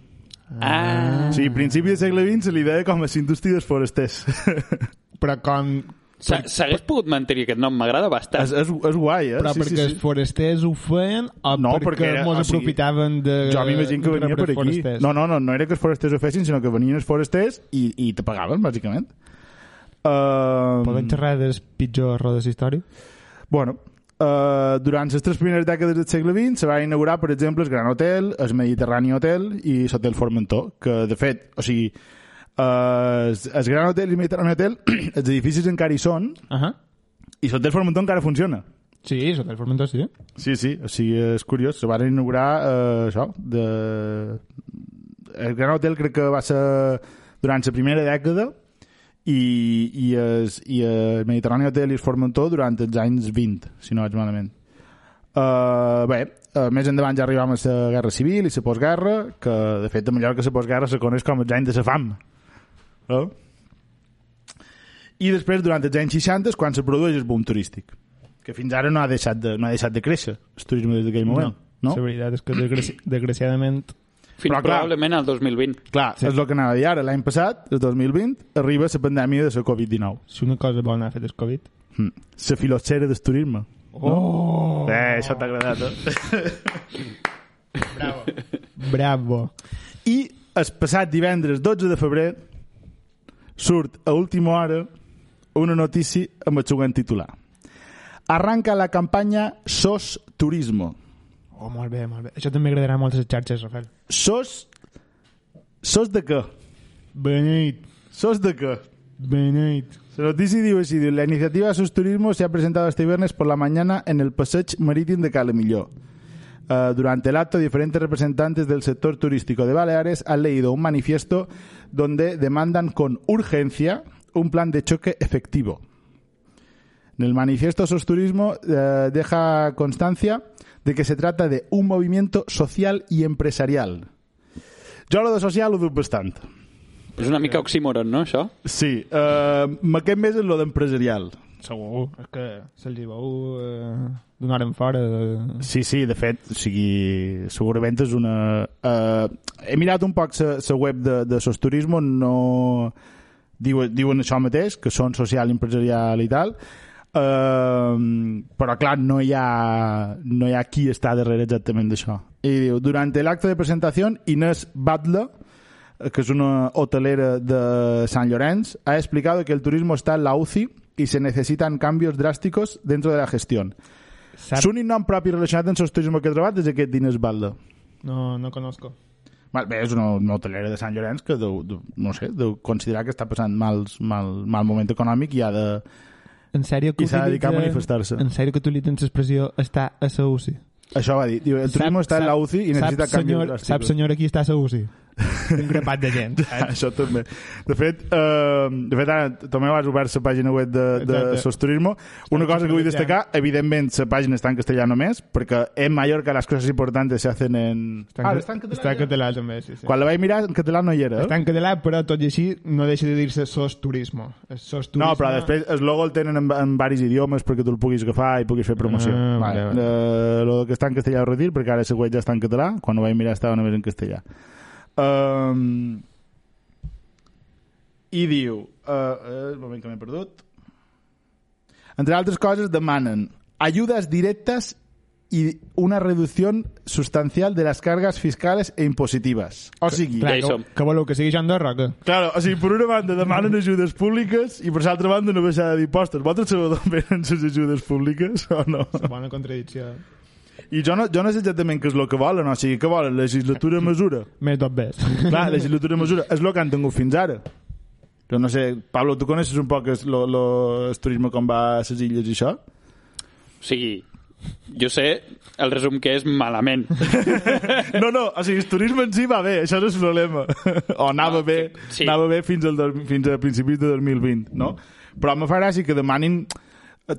Speaker 2: Mm. [LAUGHS]
Speaker 4: O sigui, a principi del segle XX se li deia com a la indústria dels foresters.
Speaker 2: Però com...
Speaker 3: S'ha- S'hagués pogut mantenir aquest nom, m'agrada bastant.
Speaker 4: És, és, és guai, eh?
Speaker 2: Però
Speaker 4: sí,
Speaker 2: perquè
Speaker 4: sí,
Speaker 2: els
Speaker 4: sí.
Speaker 2: forasters ho feien o
Speaker 4: No,
Speaker 2: perquè,
Speaker 4: perquè era-
Speaker 2: mos
Speaker 4: o sigui,
Speaker 2: aprofitaven de...
Speaker 4: Jo m'imagino que venia
Speaker 2: d'arbres
Speaker 4: per aquí.
Speaker 2: forasters?
Speaker 4: No, no, no, no era que els forasters ho fessin, sinó que venien els forasters i, i te pagaven, bàsicament. Uh,
Speaker 2: Podem xerrar dels pitjors rodes històrics?
Speaker 4: Bueno, eh, durant les tres primeres dècades del segle XX se van inaugurar, per exemple, el Gran Hotel, el Mediterrani Hotel i l'Hotel Formentor, que, de fet, o sigui, eh, el Gran Hotel i el Mediterrani Hotel, [CLEARS THROAT] els edificis encara hi són,
Speaker 2: Uh -huh.
Speaker 4: i l'Hotel Formentor encara funciona.
Speaker 2: Sí, sota el Formentor sí.
Speaker 4: Sí, sí, o sigui, és curiós. Se van inaugurar eh, això, de... El Gran Hotel Eh, crec que va ser durant la primera dècada i, i, es, i el Mediterrani Hotel i el Formentor durant els anys 20, si no vaig malament. Uh, bé, uh, més endavant ja arribam a la Guerra Civil i la postguerra, que de fet a Mallorca la postguerra se coneix com els anys de la fam. No? I després, durant els anys 60, és quan se produeix el boom turístic que fins ara no ha deixat de, no ha deixat de créixer el turisme des d'aquell moment. No.
Speaker 2: La
Speaker 4: no?
Speaker 2: veritat és que
Speaker 4: [COUGHS]
Speaker 2: desgraci desgraciadament...
Speaker 3: Fins
Speaker 4: però clar.
Speaker 3: probablement al 2020.
Speaker 4: Clar, sí. és el que anava a dir ara. L'any passat, el 2020, arriba la pandèmia de la Covid-19.
Speaker 2: Si una cosa bona ha fet el Covid...
Speaker 4: Mm. La filotxera del turisme.
Speaker 2: Oh!
Speaker 4: Eh, això t'ha agradat, eh?
Speaker 2: Bravo!
Speaker 4: I el passat divendres 12 de febrer surt a última hora una notícia amb el següent titular. Arranca la campanya SOS Turismo.
Speaker 2: Oh, molt bé, molt bé. Això també agradarà molt a les xarxes, Rafael.
Speaker 4: SOS... SOS de què?
Speaker 2: Beneit,
Speaker 4: SOS de què?
Speaker 2: beneit.
Speaker 4: Se nos dice digo, sí, digo, la iniciativa Sus Turismo se ha presentado este viernes por la mañana en el Passeig Marítim de Calemilló. Eh, durante el acto, diferentes representantes del sector turístico de Baleares han leído un manifiesto donde demandan con urgencia un plan de choque efectivo. En el manifiesto Sus Turismo eh, deja constancia de que se trata de un movimiento social y empresarial. Yo lo de social lo dudo bastante.
Speaker 3: És una mica oxímoron, no, això?
Speaker 4: Sí, eh, aquest mes és lo d'empresarial.
Speaker 2: Segur. És que se'ls hi veu eh, d'una hora en fora. De...
Speaker 4: Sí, sí, de fet, o sigui, segurament és una... Uh, he mirat un poc la web de, de Sos Turismo, no... Diuen, diuen això mateix, que són social, empresarial i tal, uh, però clar, no hi, ha, no hi ha qui està darrere exactament d'això. I diu, durant l'acte de presentació, Inés Batlle, que es una hotelera de San Llorenç, ha explicado que el turismo está en la UCI y se necesitan cambios drásticos dentro de la gestión.
Speaker 2: Sap...
Speaker 4: És l'únic nom propi relacionat amb el turisme que he trobat és aquest Dines Balda.
Speaker 2: No, no conozco.
Speaker 4: Val, bé, és una, una hotelera de Sant Llorenç que deu, deu, no sé, deu considerar que està passant mals, mal, mal moment econòmic i ha de...
Speaker 2: En sèrio que
Speaker 4: I s'ha de dedicar a
Speaker 2: utilitzen-
Speaker 4: manifestar-se.
Speaker 2: En sèrio que utilitzen l'expressió estar a la UCI.
Speaker 4: Això va dir. Diu, el turisme està en la UCI i necessita
Speaker 2: sap,
Speaker 4: canvis
Speaker 2: senyor, Sap,
Speaker 4: [LAUGHS]
Speaker 2: senyor, aquí està a la UCI. Un grapat de gent.
Speaker 4: Ah, Això també. De fet, eh, de fet ara també vas obert la pàgina web de, de
Speaker 2: Exacte.
Speaker 4: Sos Turismo. Una cosa que vull
Speaker 2: supervisant.
Speaker 4: destacar, evidentment, la pàgina està en castellà només, perquè en Mallorca les coses importantes se hacen en... Ah, està en
Speaker 2: Està
Speaker 4: català.
Speaker 2: en català, també, sí, sí.
Speaker 4: Quan la vaig mirar, en català no hi era. eh?
Speaker 2: Està en català, però tot i així no deixa de dir-se sos turismo. És Sos turisme...
Speaker 4: No, però després el logo el tenen en, en varis idiomes perquè tu el puguis agafar i puguis fer promoció.
Speaker 2: Ah,
Speaker 4: Ah,
Speaker 2: vale,
Speaker 4: vale,
Speaker 2: vale.
Speaker 4: Eh, lo que està en castellà ho retir perquè ara següent ja està en català. Quan ho vaig mirar estava només en castellà. Um, I diu... Uh, uh, un moment que m'he perdut. Entre altres coses demanen ayudas directas y una reducción sustancial de las cargas fiscales e impositivas. O sigui,
Speaker 2: Clar,
Speaker 3: Ja hi
Speaker 2: que,
Speaker 3: som.
Speaker 2: eh, que voleu que sigui Joan Andorra, que?
Speaker 4: Claro, o sigui, per una banda demanen ajudes públiques i per l'altra banda una baixada d'impostos. Vosaltres sabeu d'on [LAUGHS] venen les ajudes públiques o no?
Speaker 2: Bona contradicció.
Speaker 4: I jo no, jo no sé exactament què és el que volen, o sigui, què volen? Legislatura mesura.
Speaker 2: Més dos bes.
Speaker 4: [LAUGHS] Clar, legislatura mesura. És el que han tingut fins ara. Jo no sé, Pablo, tu coneixes un poc el, el, el turisme com va a les illes i això?
Speaker 3: O sigui, jo sé el resum que és malament.
Speaker 4: No, no, o sigui, el turisme en si va bé, això no és problema. [LAUGHS] O anava
Speaker 3: No,
Speaker 4: bé,
Speaker 3: sí.
Speaker 4: sí. anava bé fins, al, dos- fins a principis de 2020, no? Però me fa gràcia que demanin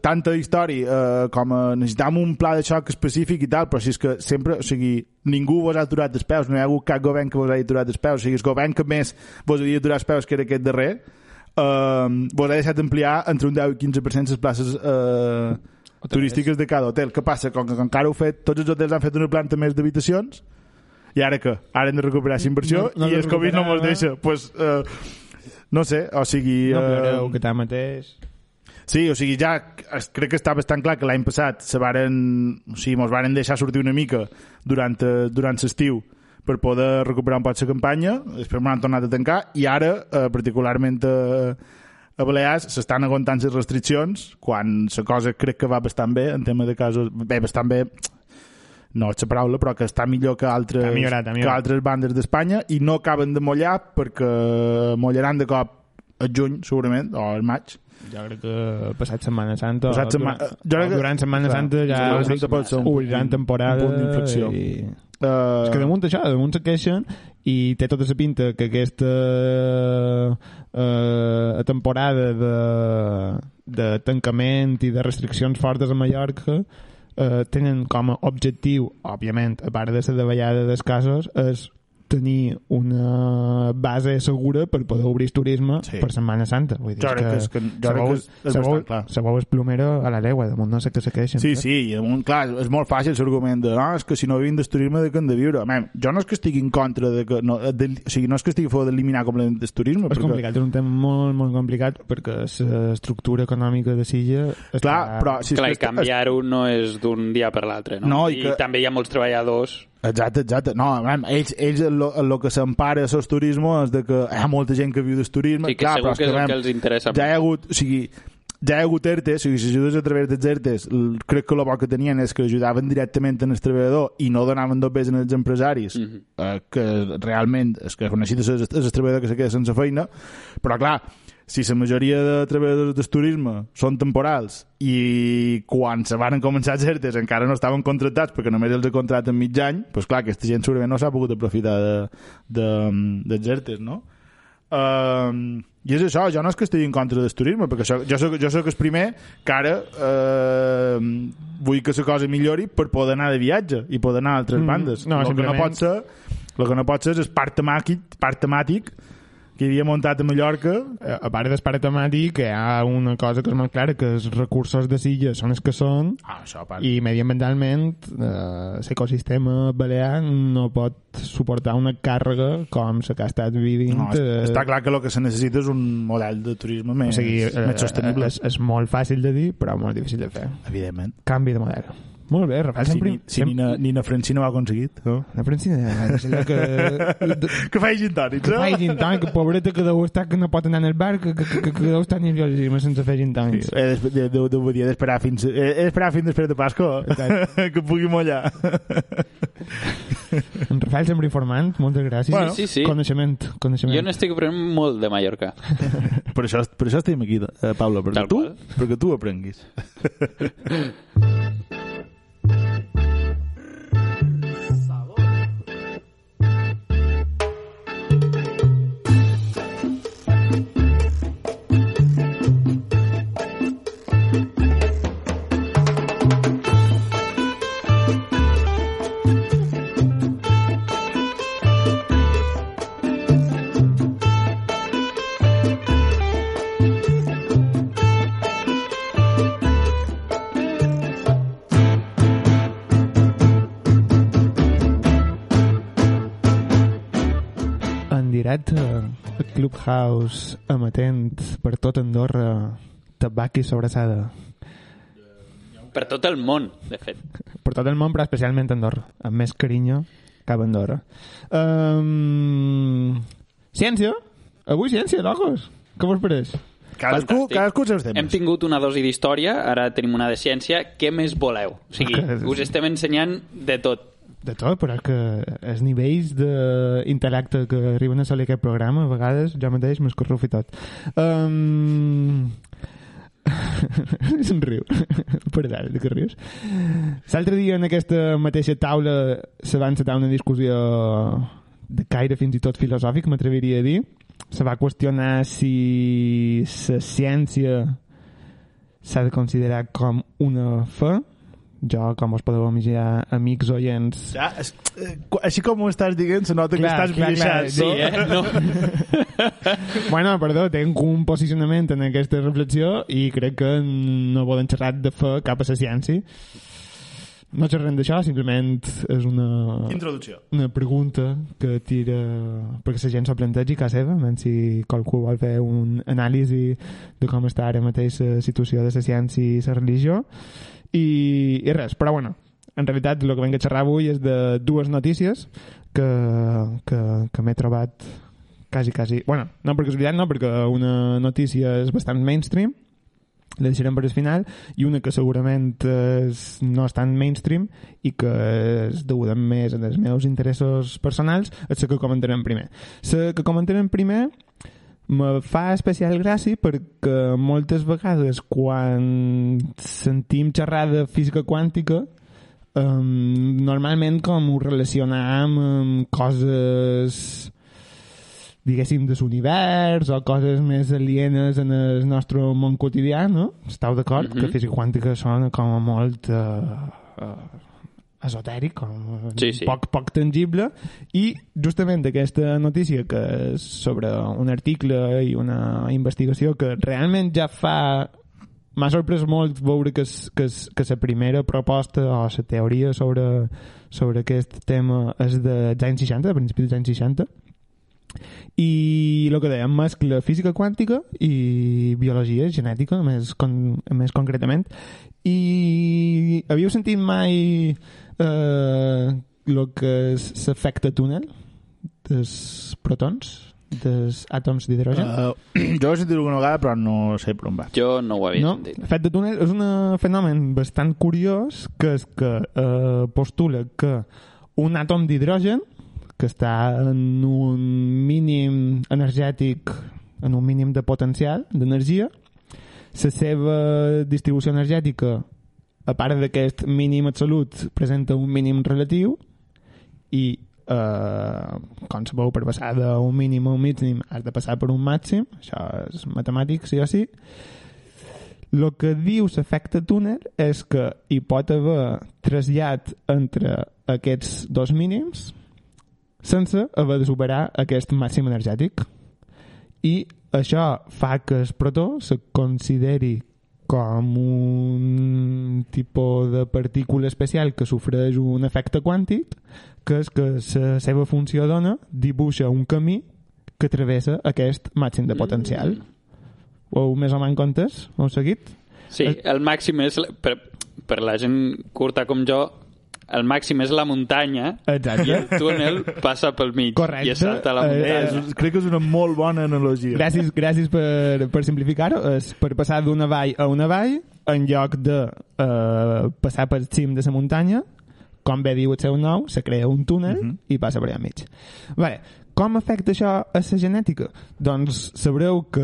Speaker 4: tanta història eh, com a necessitam un pla de xoc específic i tal, però si és que sempre, o sigui, ningú vos ha aturat els peus, no hi ha hagut cap govern que vos hagi aturat els peus, o sigui, el govern que més vos havia aturat els peus, que era aquest darrer, eh, vos ha deixat ampliar entre un 10 i 15% les places eh, turístiques de cada hotel. Què passa? Com que encara heu fet, tots els hotels han fet una planta més d'habitacions, i ara què? Ara hem de recuperar la inversió
Speaker 2: No, no
Speaker 4: no,
Speaker 2: la
Speaker 4: i el Covid no
Speaker 2: recuperava.
Speaker 4: mos deixa. Pues, eh, no sé, o sigui...
Speaker 2: No
Speaker 4: eh,
Speaker 2: ploreu, que tant mateix.
Speaker 4: Sí, o sigui, ja es- crec que està bastant clar que l'any passat se varen, o sigui, mos varen deixar sortir una mica durant, eh, durant l'estiu per poder recuperar un poc la campanya, després m'han tornat a tancar, i ara, eh, particularment eh, a Balears, s'estan aguantant les restriccions, quan la cosa crec que va bastant bé en tema de casos... Bé, bastant bé, no és la paraula, però que està millor que altres,
Speaker 2: Ha millorat, ha
Speaker 4: que
Speaker 2: millorat.
Speaker 4: altres bandes d'Espanya i no acaben de mollar perquè mollaran de cop a juny, segurament, o al maig.
Speaker 2: Jo crec que passat Setmana Santa
Speaker 4: Passat
Speaker 2: o durant,
Speaker 4: setmana- jo crec que-
Speaker 2: durant Setmana
Speaker 4: clar,
Speaker 2: Santa ja
Speaker 4: Setmana Santa pot ser un-
Speaker 2: obriran
Speaker 4: un-
Speaker 2: temporada
Speaker 4: un punt d'inflexió.
Speaker 2: i...
Speaker 4: Eh,
Speaker 2: És Doncs que damunt això, damunt se queixen i té tota la pinta que aquesta eh, temporada de, de tancament i de restriccions fortes a Mallorca eh, tenen com a objectiu, òbviament, a part de la davallada dels casos, és tenir una base segura per poder obrir el turisme
Speaker 4: Sí.
Speaker 2: sí. per Setmana Santa. Vull dir
Speaker 4: Jo crec que és que- jo crec
Speaker 2: sabeu-
Speaker 4: que és- és
Speaker 2: sabeu-
Speaker 4: bastant clar.
Speaker 2: sabeu el plomero a la legua, damunt no sé què se queixen.
Speaker 4: Sí,
Speaker 2: saps?
Speaker 4: sí, i un, clar, és molt fàcil l'argument de no, és que si no vinc d'esturisme de que han de viure. Man, jo no és que estigui en contra de que... No, eh, de, o sigui, no és que estigui a favor d'eliminar completament d'esturisme.
Speaker 2: És complicat, és un tema molt, molt complicat perquè l'estructura econòmica de Silla... Està...
Speaker 4: Clar, però... Si és
Speaker 3: Clar,
Speaker 4: que
Speaker 3: i
Speaker 4: està-
Speaker 3: canviar-ho no és d'un dia per l'altre, no?
Speaker 4: No, i
Speaker 3: I,
Speaker 4: que-
Speaker 3: també hi ha molts treballadors...
Speaker 4: Exacte, exacte. No, man, ells, ells en lo, en lo que s'empara el turisme és de que hi ha molta gent que viu del turisme.
Speaker 3: I que
Speaker 4: clar,
Speaker 3: segur
Speaker 4: però és
Speaker 3: que és el
Speaker 4: man,
Speaker 3: que els interessa.
Speaker 4: Ja hi ha hagut... O sigui, ja hi ha hagut ERTEs, o sigui, si ajudes a través dels ERTEs, l- crec que el bo que tenien és que ajudaven directament en el treballador i no donaven dos pes en els empresaris, mm -hmm. eh, que realment és que necessites és, és el treballador que se queda sense feina, però clar, si la majoria de treballadors del turisme són temporals i quan se van començar els ERTEs encara no estaven contractats perquè només els contraten mig any, doncs clar, aquesta gent segurament no s'ha pogut aprofitar de, de, dels ERTEs, no? Um, I és això, jo no és que estigui en contra del turisme, perquè això, jo, soc, jo soc el primer que ara eh, vull que la cosa millori per poder anar de viatge i poder anar a altres
Speaker 2: Mm,
Speaker 4: mm, bandes.
Speaker 2: no,
Speaker 4: el, que no
Speaker 2: simplement-
Speaker 4: pot ser, el que no pot ser és el parc temàtic, parc temàtic que hi havia muntat a Mallorca
Speaker 2: Eh, A part d'espar temàtic, hi ha una cosa que és molt clara, que els recursos de Silla són els que són
Speaker 4: ah, això, part, i...
Speaker 2: i mediambientalment eh, l'ecosistema balear no pot suportar una càrrega com la que ha estat vivint.
Speaker 4: no,
Speaker 2: eh,
Speaker 4: està clar que el que se necessita és un model de turisme més,
Speaker 2: O sigui, eh,
Speaker 4: més sostenible,
Speaker 2: És, és molt fàcil de dir, però molt difícil de fer.
Speaker 4: evidentment.
Speaker 2: Canvi de model. Molt bé, Rafael,
Speaker 4: Ah, Si,
Speaker 2: sempre...
Speaker 4: ni, si Nina, Nina Francina ho ha aconseguit. No?
Speaker 2: La premsa... eh,
Speaker 4: [LAUGHS]
Speaker 2: que- [LAUGHS]
Speaker 4: Que faci gin tònics,
Speaker 2: Que
Speaker 4: eh?
Speaker 2: faci gin tònic, pobreta que deu estar que no pot anar al bar, que, que, que, que deu estar nerviosíssima sense fer gin tònics.
Speaker 4: He Eh, d'esp- de- de- de- hauria d'esperar fins, he he d'esperar fins després de Pasco
Speaker 2: Exacte.
Speaker 4: [LAUGHS] que pugui mollar.
Speaker 2: En Rafael sempre informant, moltes gràcies.
Speaker 4: Bueno,
Speaker 3: Sí, sí.
Speaker 2: Coneixement, coneixement.
Speaker 3: Jo n'estic aprenent molt de Mallorca.
Speaker 4: per, això, per això estem aquí, eh, Pablo, perquè
Speaker 3: Tal
Speaker 4: tu,
Speaker 3: qual.
Speaker 4: perquè tu aprenguis.
Speaker 2: En directe, a uh, Clubhouse, amatent per tot Andorra, tabac i sobrassada.
Speaker 3: Per tot el món, de fet.
Speaker 2: Per tot el món, però especialment Andorra. Amb més carinyo cap a Andorra. Um... Ciència? Avui ciència, locos. Com vos pareix?
Speaker 4: Cadascú,
Speaker 3: Fantàstic.
Speaker 4: cadascú els seus
Speaker 3: Hem
Speaker 4: temes.
Speaker 3: tingut una dosi d'història, ara tenim una de ciència. Què més voleu? O
Speaker 4: [LAUGHS]
Speaker 3: sigui, us estem ensenyant de tot.
Speaker 2: De tot, però és que els nivells d'intel·lecte que arriben a assolir aquest programa, a vegades jo mateix m'escorrufo i tot. [LAUGHS] Um... Se'n riu. [LAUGHS] Perdó, de què rius? L'altre dia en aquesta mateixa taula se va encetar una discussió de caire fins i tot filosòfic, m'atreviria a dir. Se va qüestionar si la ciència s'ha de considerar com una fe. Jo, com vos podeu imaginar, amics oients,
Speaker 4: Ja, es- eh, cu- així com ho estàs dient, se nota que
Speaker 2: Clar,
Speaker 4: estàs
Speaker 2: clar, clar,
Speaker 4: biaixat.
Speaker 2: sí, eh,
Speaker 3: Eh?
Speaker 4: no?
Speaker 3: No?
Speaker 2: [LAUGHS] Bueno, perdó, tenc un posicionament en aquesta reflexió i crec que no poden xerrar de fer cap a la ciència. No xerrem d'això, simplement és una,
Speaker 4: [LAUGHS] Introducció.
Speaker 2: una pregunta que tira perquè la gent s'ho plantegi que seva, menys si qualcú vol fer un anàlisi de com està ara mateix la situació de la ciència i la religió i, i res, però bueno en realitat el que venc a xerrar avui és de dues notícies que, que, que m'he trobat quasi, quasi, bueno, no perquè és veritat no, perquè una notícia és bastant mainstream la deixarem per el final i una que segurament és, no és tan mainstream i que és deguda més als meus interessos personals és la que comentarem primer la que comentarem primer me fa especial gràcia perquè moltes vegades quan sentim xerrar de física quàntica um, normalment com ho relacionam amb coses diguéssim, de l'univers o coses més alienes en el nostre món quotidià, no? Esteu d'acord?
Speaker 3: Mhm.
Speaker 2: Que física quàntica sona com a molt eh, eh, esotèric, com
Speaker 3: Sí, sí.
Speaker 2: poc, poc tangible, i justament aquesta notícia que és sobre un article i una investigació que realment ja fa M'ha sorprès molt veure que, s- que, s- que la primera proposta o la teoria sobre, sobre aquest tema és dels anys 60, de principis dels anys 60, i el que dèiem mescla física quàntica i biologia genètica més, con, més concretament i havíeu sentit mai eh, el que és l'efecte túnel dels protons dels àtoms d'hidrogen?
Speaker 4: Uh, [CLEARS THROAT] jo he sentit alguna vegada, però no sé per on va.
Speaker 3: Jo no ho havia
Speaker 2: no?
Speaker 3: sentit.
Speaker 2: L'efecte túnel és un eh, fenomen bastant curiós que és que eh, postula que un àtom d'hidrogen que està en un mínim energètic, en un mínim de potencial d'energia, la seva distribució energètica, a part d'aquest mínim absolut, presenta un mínim relatiu i, eh, com sabeu, per passar d'un mínim a un mínim has de passar per un màxim, això és matemàtic, sí o sí. El que diu l'efecte túnel és que hi pot haver trasllat entre aquests dos mínims sense haver de superar aquest màxim energètic i això fa que el protó se consideri com un tipus de partícula especial que sofreix un efecte quàntic que és que la seva funció d'ona dibuixa un camí que travessa aquest màxim de potencial. Mm. Ho heu més o menys comptes? Ho heu seguit?
Speaker 3: Sí,
Speaker 4: Eh.
Speaker 3: el màxim és... la- Per, per la gent curta com jo, el màxim és la muntanya i
Speaker 2: Exacte.
Speaker 3: el túnel passa pel mig
Speaker 2: Correcte.
Speaker 3: i es salta a la
Speaker 2: Eh,
Speaker 4: Eh,
Speaker 3: muntanya.
Speaker 4: és, crec que és una molt bona analogia.
Speaker 2: Gràcies, gràcies per, per simplificar-ho. És per passar d'una vall a una vall, en lloc de eh, passar per cim de la muntanya, com bé diu el seu nou, se crea un túnel uh -huh. i passa per allà mig. Vale. Com afecta això a la genètica? Doncs sabreu que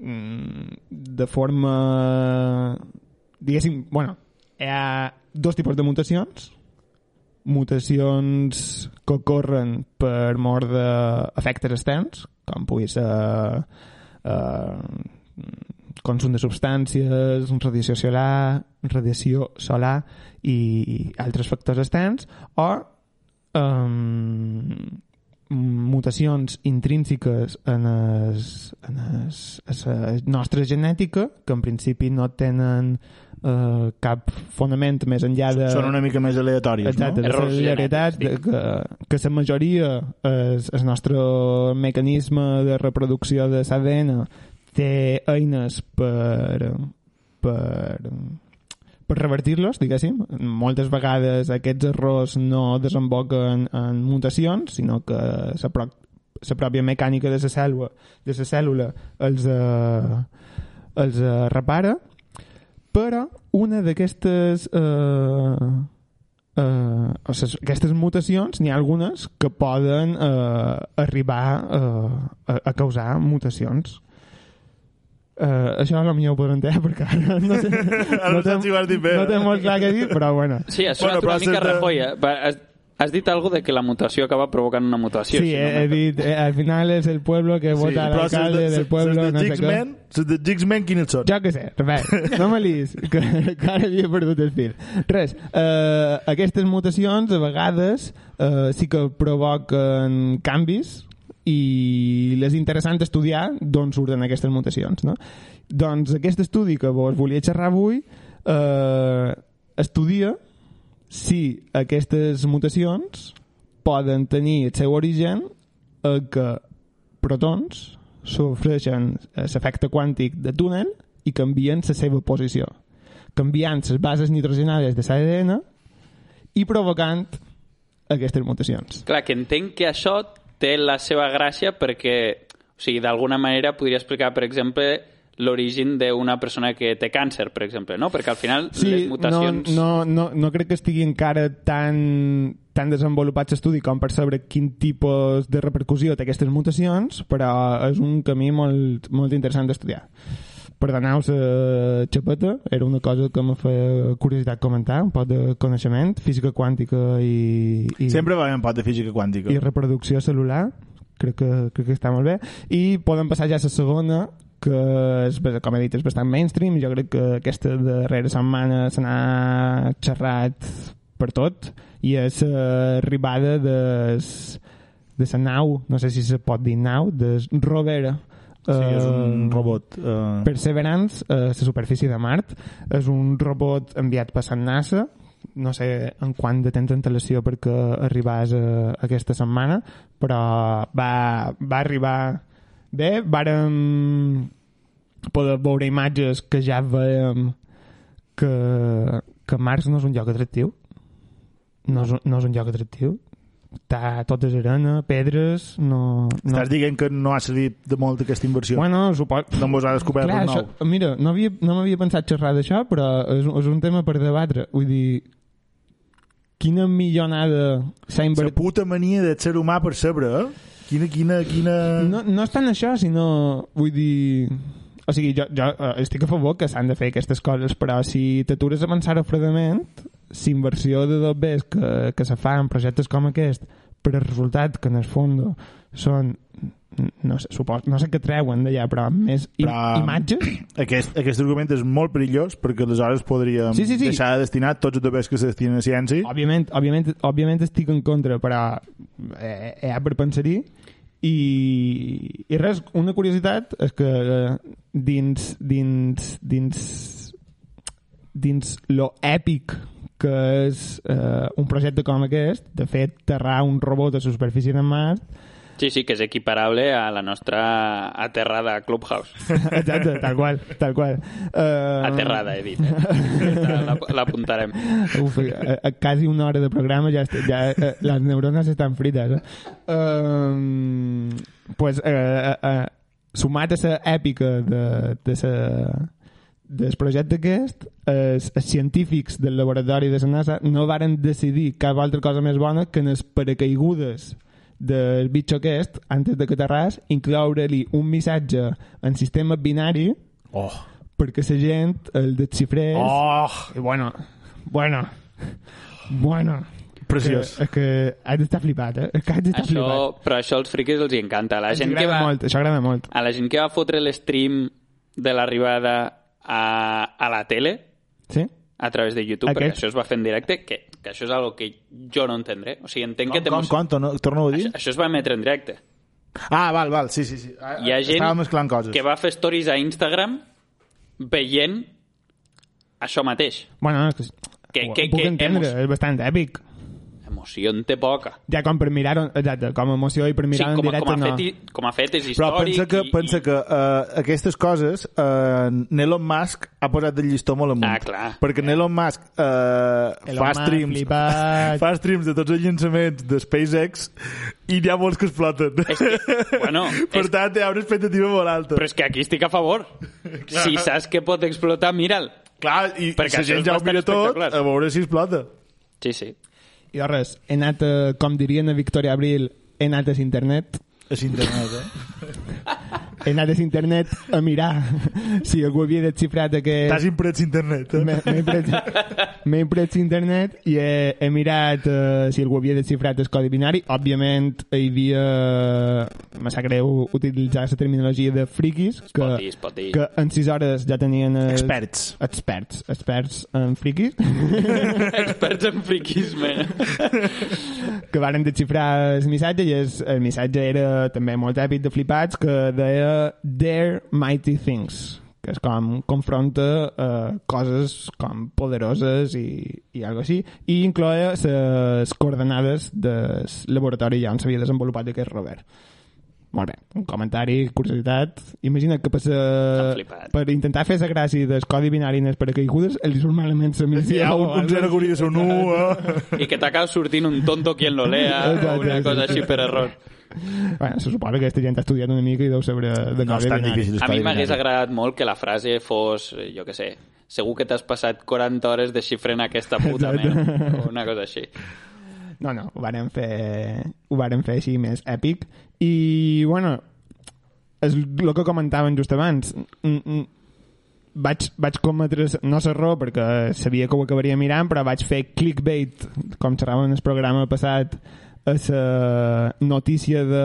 Speaker 2: mm, de forma diguéssim, bueno, hi ha dos tipus de mutacions mutacions que ocorren per mort d'efectes externs, com pugui ser eh, consum de substàncies, radiació solar, radiació solar i altres factors externs, o eh, mutacions intrínseques en, es, en, es, en la nostra genètica, que en principi no tenen eh, cap fonament més enllà de...
Speaker 4: Són una mica més aleatòries,
Speaker 2: Exacte,
Speaker 4: eh. no?
Speaker 2: no?
Speaker 3: Errors
Speaker 2: la veritat
Speaker 3: genètics,
Speaker 2: que, que la majoria eh, és, el nostre mecanisme de reproducció de l'ADN té eines per per per revertir-los, diguéssim. Moltes vegades aquests errors no desemboquen en mutacions, sinó que la pro la pròpia mecànica de la cèl·lula, de la cèl·lula els, eh, els eh, repara, però una d'aquestes eh, eh, o sigui, aquestes mutacions n'hi ha algunes que poden eh, arribar eh, a, a causar mutacions eh, això potser ho podré entendre [LAUGHS] perquè ara no té,
Speaker 4: Ara no saps si ho has dit bé,
Speaker 2: no té
Speaker 4: eh?
Speaker 2: molt clar què dir però bueno
Speaker 3: Sí, ha sonat una
Speaker 4: Bueno, però
Speaker 3: mica
Speaker 4: has de-
Speaker 3: Rajoy. eh? Va, Has, has dit alguna de que la mutació acaba provocant una mutació.
Speaker 2: Sí,
Speaker 3: si no
Speaker 2: he, he
Speaker 3: m'he-
Speaker 2: dit, eh, al final és el pueblo que vota sí,
Speaker 4: però ses
Speaker 2: l'alcalde
Speaker 4: de-
Speaker 2: del
Speaker 4: ses-
Speaker 2: pueblo,
Speaker 4: ses de
Speaker 2: no sé què.
Speaker 4: Jigsman- ses de Jigsman, quines són?
Speaker 2: Jo què sé, res, no me lis, que, que ara havia perdut el fil. Res, eh, aquestes mutacions a vegades eh, sí que provoquen canvis i les interessant estudiar d'on surten aquestes mutacions. No? Doncs aquest estudi que vos volia xerrar avui eh, estudia si aquestes mutacions poden tenir el seu origen a que protons sofreixen eh, l'efecte quàntic de túnel i canvien la seva posició, canviant les bases nitrogenades de l'ADN i provocant aquestes mutacions.
Speaker 3: Clar, que entenc que això té la seva gràcia perquè, o sigui, d'alguna manera podria explicar, per exemple, l'origen d'una persona que té càncer, per exemple, no? Perquè al final les mutacions...
Speaker 2: no, no, no, no crec que estigui encara tan, tan desenvolupat l'estudi com per saber quin tipus de repercussió té aquestes mutacions, però és un camí molt, molt interessant d'estudiar. Perdoneu la xapeta, eh, era una cosa que me feia curiositat comentar, un poc de coneixement, física quàntica i... i
Speaker 4: Sempre va haver un pot de física quàntica.
Speaker 2: i reproducció celular crec que, crec que està molt bé i podem passar ja a la segona que és, com he dit és bastant mainstream jo crec que aquesta darrera setmana se n'ha xerrat per tot i és l'arribada de s- de la nau, no sé si se pot dir nau de s- Rovera
Speaker 4: Sí, és
Speaker 2: Eh,
Speaker 4: un robot. eh,
Speaker 2: Perseverance, eh, la superfície de Mart, és un robot enviat per la NASA, no sé en quant de temps d'antelació perquè arribàs eh, aquesta setmana, però va, va arribar bé, vàrem poder veure imatges que ja veiem que, que Mars no és un lloc atractiu, no és, un- no és un lloc atractiu, Està tot és arena, pedres, no... no.
Speaker 4: Estàs dient que no ha servit de molt aquesta inversió.
Speaker 2: Bueno, suposo...
Speaker 4: no mos ha descobert
Speaker 2: Clar,
Speaker 4: res nou.
Speaker 2: això, mira, no, havia, no m'havia pensat xerrar d'això, però és, un- és un tema per debatre. Vull dir, quina millonada s'ha
Speaker 4: La
Speaker 2: invertit...
Speaker 4: puta mania del ser humà per saber, eh? Quina, quina, quina...
Speaker 2: No, no és tant això, sinó... Vull dir... O sigui, jo, jo eh, estic a favor que s'han de fer aquestes coses, però si t'atures a pensar-ho fredament, si inversió de dos bes que, que se fa en projectes com aquest, per el resultat que en el fons són no sé, supos, no sé què treuen d'allà, però més im
Speaker 4: Però-
Speaker 2: imatges
Speaker 4: Aquest, aquest argument és molt perillós perquè aleshores podríem
Speaker 2: Sí, sí, sí.
Speaker 4: deixar de destinar tots els diners que se destinen a ciència.
Speaker 2: Òbviament, òbviament, òbviament estic en contra, però eh, hi ha per pensar-hi. I, I res, una curiositat és que eh, dins, dins, dins, dins lo èpic que és eh, un projecte com aquest, de fet, terrar un robot a la superfície de [LAUGHS] Mart,
Speaker 3: Sí, sí, que és equiparable a la nostra aterrada a Clubhouse.
Speaker 2: exacte, tal qual, tal qual. Eh,
Speaker 3: Aterrada, he dit.
Speaker 2: [LAUGHS]
Speaker 3: Eh? La- L'apuntarem.
Speaker 2: Uf, a, a quasi una hora de programa ja, est- ja eh, les neurones estan frites. Eh? Um, pues, eh, eh, eh, sumat a la èpica de, de sa, del projecte aquest, els, els científics del laboratori de la NASA no varen decidir cap altra cosa més bona que en les paracaigudes del bitxo aquest, antes de que t'arràs, incloure-li un missatge en sistema binari
Speaker 4: Oh.
Speaker 2: perquè la gent el desxifrés
Speaker 4: Oh,
Speaker 2: i bueno, bueno, bueno.
Speaker 4: preciós.
Speaker 2: Que, que has d'estar flipat, eh? Que has d'estar flipat.
Speaker 3: Això, però això als friquis els hi encanta. La gent que
Speaker 2: agrada
Speaker 3: va,
Speaker 2: molt, això agrada molt.
Speaker 3: a la gent que va fotre l'estream de l'arribada a, a la tele
Speaker 2: Sí?
Speaker 3: a través de YouTube,
Speaker 2: Aquests-
Speaker 3: perquè això es va fer en directe, que, que això és algo que jo no entendré. O sigui, entenc
Speaker 2: eh,
Speaker 3: que...
Speaker 4: Com, com,
Speaker 3: t'emo-
Speaker 4: com, torno, torno a dir?
Speaker 3: Això, això es va emetre en directe.
Speaker 4: Ah, val, val, sí, sí, sí. Ah,
Speaker 3: Hi ha gent
Speaker 4: Estava mesclant coses.
Speaker 3: que va fer stories a Instagram veient això mateix.
Speaker 2: Bueno, és que,
Speaker 3: Que-
Speaker 2: ho,
Speaker 3: que-
Speaker 2: ho puc
Speaker 3: que
Speaker 2: entendre, eh?
Speaker 3: hemos-
Speaker 2: és bastant èpic.
Speaker 3: Emoció en té poca.
Speaker 2: Ja com per mirar, exacte, com a emoció i per
Speaker 3: Sí,
Speaker 2: mirar
Speaker 3: com,
Speaker 2: en
Speaker 3: a,
Speaker 2: directe
Speaker 3: com, a
Speaker 2: no.
Speaker 3: fet, i- com a fet és històric.
Speaker 4: Però pensa que,
Speaker 3: i-
Speaker 4: pensa
Speaker 3: i-
Speaker 4: que uh, aquestes coses uh, Elon Musk ha posat de llistó molt amunt.
Speaker 3: Ah, clar.
Speaker 4: Perquè en Elon Musk uh,
Speaker 2: Elon
Speaker 4: fa
Speaker 2: Musk,
Speaker 4: streams
Speaker 2: flipat.
Speaker 4: fa streams de tots els llançaments de SpaceX i n'hi ha molts que exploten.
Speaker 3: És que, bueno,
Speaker 4: [LAUGHS] per
Speaker 3: és-
Speaker 4: tant, hi ha una expectativa molt alta.
Speaker 3: Però és que aquí estic a favor. si saps que pot explotar, mira'l.
Speaker 4: clar, i
Speaker 3: perquè
Speaker 4: la
Speaker 3: això
Speaker 4: gent
Speaker 3: és
Speaker 4: ja ho
Speaker 3: bastant
Speaker 4: mira tot,
Speaker 3: espectacular.
Speaker 4: a veure si explota.
Speaker 3: Sí, sí.
Speaker 2: Jo res, he anat, eh, com dirien a Victoria Abril, he anat a internet,
Speaker 4: És internet, eh?
Speaker 2: [LAUGHS] he anat a internet a mirar [LAUGHS] si algú havia desxifrat aquest...
Speaker 4: T'has imprès internet, eh?
Speaker 2: M'he- m'he pres- M'he imprès internet i he, he mirat eh, si algú havia desxifrat el codi binari. Òbviament, hi havia... Me sap greu utilitzar la terminologia de friquis, que,
Speaker 3: pot dir, es pot dir.
Speaker 2: que en 6 hores ja tenien... eh,
Speaker 4: Experts.
Speaker 2: Experts, experts en friquis,
Speaker 3: [LAUGHS] Experts en
Speaker 2: [LAUGHS]
Speaker 3: friquisme.
Speaker 2: que varen desxifrar el missatge i es, el missatge era també molt èpic de flipats, que deia Dare Mighty Things que és com confronta eh, coses com poderoses i, i algo així, i incloia les coordenades del laboratori ja on s'havia desenvolupat aquest rover. Molt bé, un comentari, curiositat. Imagina que passa,
Speaker 3: T'ha flipat.
Speaker 2: per intentar fer la gràcia del codi binari en les paracaigudes, els surt malament la missió.
Speaker 4: Hi ha un,
Speaker 2: o
Speaker 4: un
Speaker 2: algo.
Speaker 4: zero que hauria de ser un 1, eh?
Speaker 3: I que t'acaba sortint un tonto quien lo lea o
Speaker 2: Exacte,
Speaker 3: una cosa
Speaker 2: exacte.
Speaker 3: així per error.
Speaker 2: Bueno, se suposa que este aquesta gent ha estudiat una mica i deu saber eh, de
Speaker 4: No
Speaker 2: codi
Speaker 4: és tan
Speaker 2: binari.
Speaker 4: difícil.
Speaker 3: A mi m'hagués
Speaker 4: estar adivinant.
Speaker 3: agradat molt que la frase fos, eh, jo que sé, segur que t'has passat 40 hores desxifrant
Speaker 4: [LAUGHS]
Speaker 3: aquesta puta
Speaker 2: Exacte.
Speaker 3: merda, o una cosa així.
Speaker 2: No, no, ho varen fer, ho varen fer així més èpic. I, bueno, és el que comentaven just abans. Mm, mm, Vaig, vaig cometre, no és error, perquè sabia que ho acabaria mirant, però vaig fer clickbait, com xerràvem en el programa passat, a la notícia de...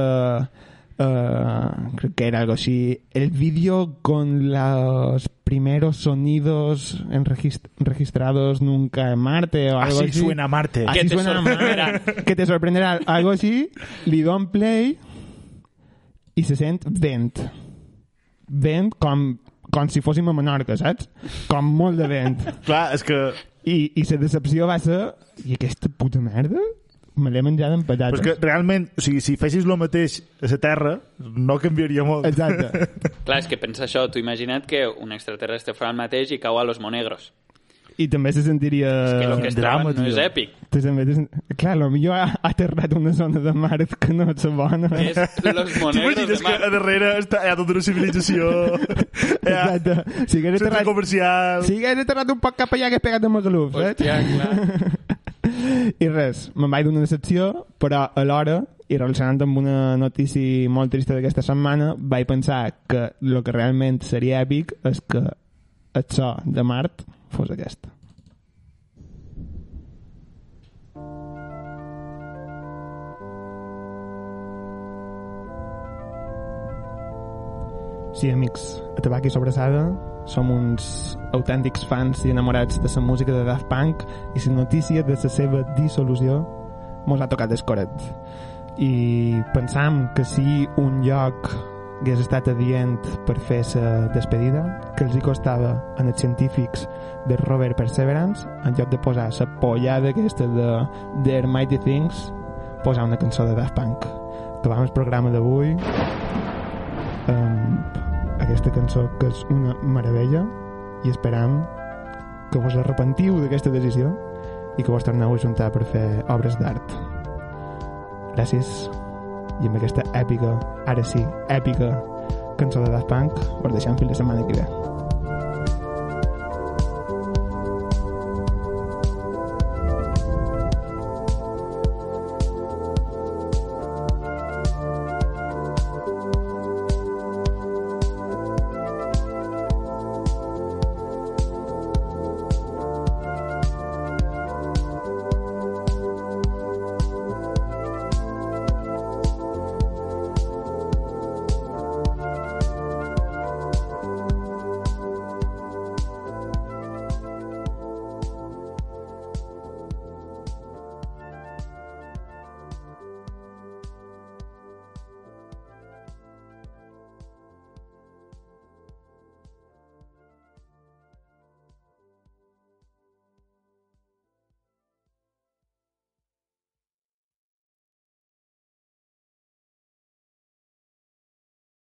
Speaker 2: Uh, crec que era algo así el vídeo con los primeros sonidos enregist- registrados nunca en Marte o algo
Speaker 4: Así
Speaker 2: así
Speaker 4: Ah, suena Marte.
Speaker 2: Así
Speaker 3: Que te
Speaker 2: Eh, suena
Speaker 3: sorprenderá.
Speaker 2: Marte. [LAUGHS] que te sorprenderá algo así li don play i se sent vent vent com, com si fóssim a Menorca saps? com molt de vent
Speaker 4: Clar, és que...
Speaker 2: i, i la decepció va ser i aquesta puta merda me l'he menjat amb
Speaker 4: Però
Speaker 2: patates
Speaker 4: és que realment, o sigui, si fessis el mateix a la Terra, no canviaria molt.
Speaker 2: exacte
Speaker 3: Clar, és que pensa això, tu imagina't que un extraterrestre fa el mateix i cau a los monegros.
Speaker 2: i també se sentiria
Speaker 3: Que lo que es
Speaker 4: Eh, drama,
Speaker 3: troben no
Speaker 4: tio.
Speaker 3: és èpic.
Speaker 2: Te també te... Clar, potser ha ha aterrat una zona de Mart que no és bona.
Speaker 3: És
Speaker 4: [LAUGHS]
Speaker 3: los monegros de
Speaker 4: T'imagines que a
Speaker 3: mar.
Speaker 4: darrere està, hi ha tota
Speaker 2: [LAUGHS]
Speaker 4: una civilització, hi ha
Speaker 2: Exacte. Si hagués
Speaker 4: centre
Speaker 2: aterrat,
Speaker 4: comercial...
Speaker 2: si hagués aterrat un poc cap allà que pegat amb els alums, [LAUGHS]
Speaker 3: Hòstia, clar.
Speaker 2: I res, me'n vaig d'una decepció, però alhora, i relacionant amb una notícia molt trista d'aquesta setmana, vaig pensar que el que realment seria èpic és que el so de Mart fos aquesta. Sí, amics, a Tabac i Sobrassada som uns autèntics fans i enamorats de la música de Daft Punk i la notícia de la seva dissolució mos ha tocat el coret. I pensam que si un lloc hagués estat adient per fer la despedida, que els hi costava en els científics de Robert Perseverance, en lloc de posar la pollada aquesta de Their Mighty Things, posar una cançó de Daft Punk. Acabam el programa d'avui amb aquesta cançó que és una meravella i esperam que vos arrepentiu d'aquesta decisió i que vos torneu a juntar per fer obres d'art. Gràcies i amb aquesta èpica, ara sí, èpica cançó de Daft Punk, us deixem fins la setmana que ve.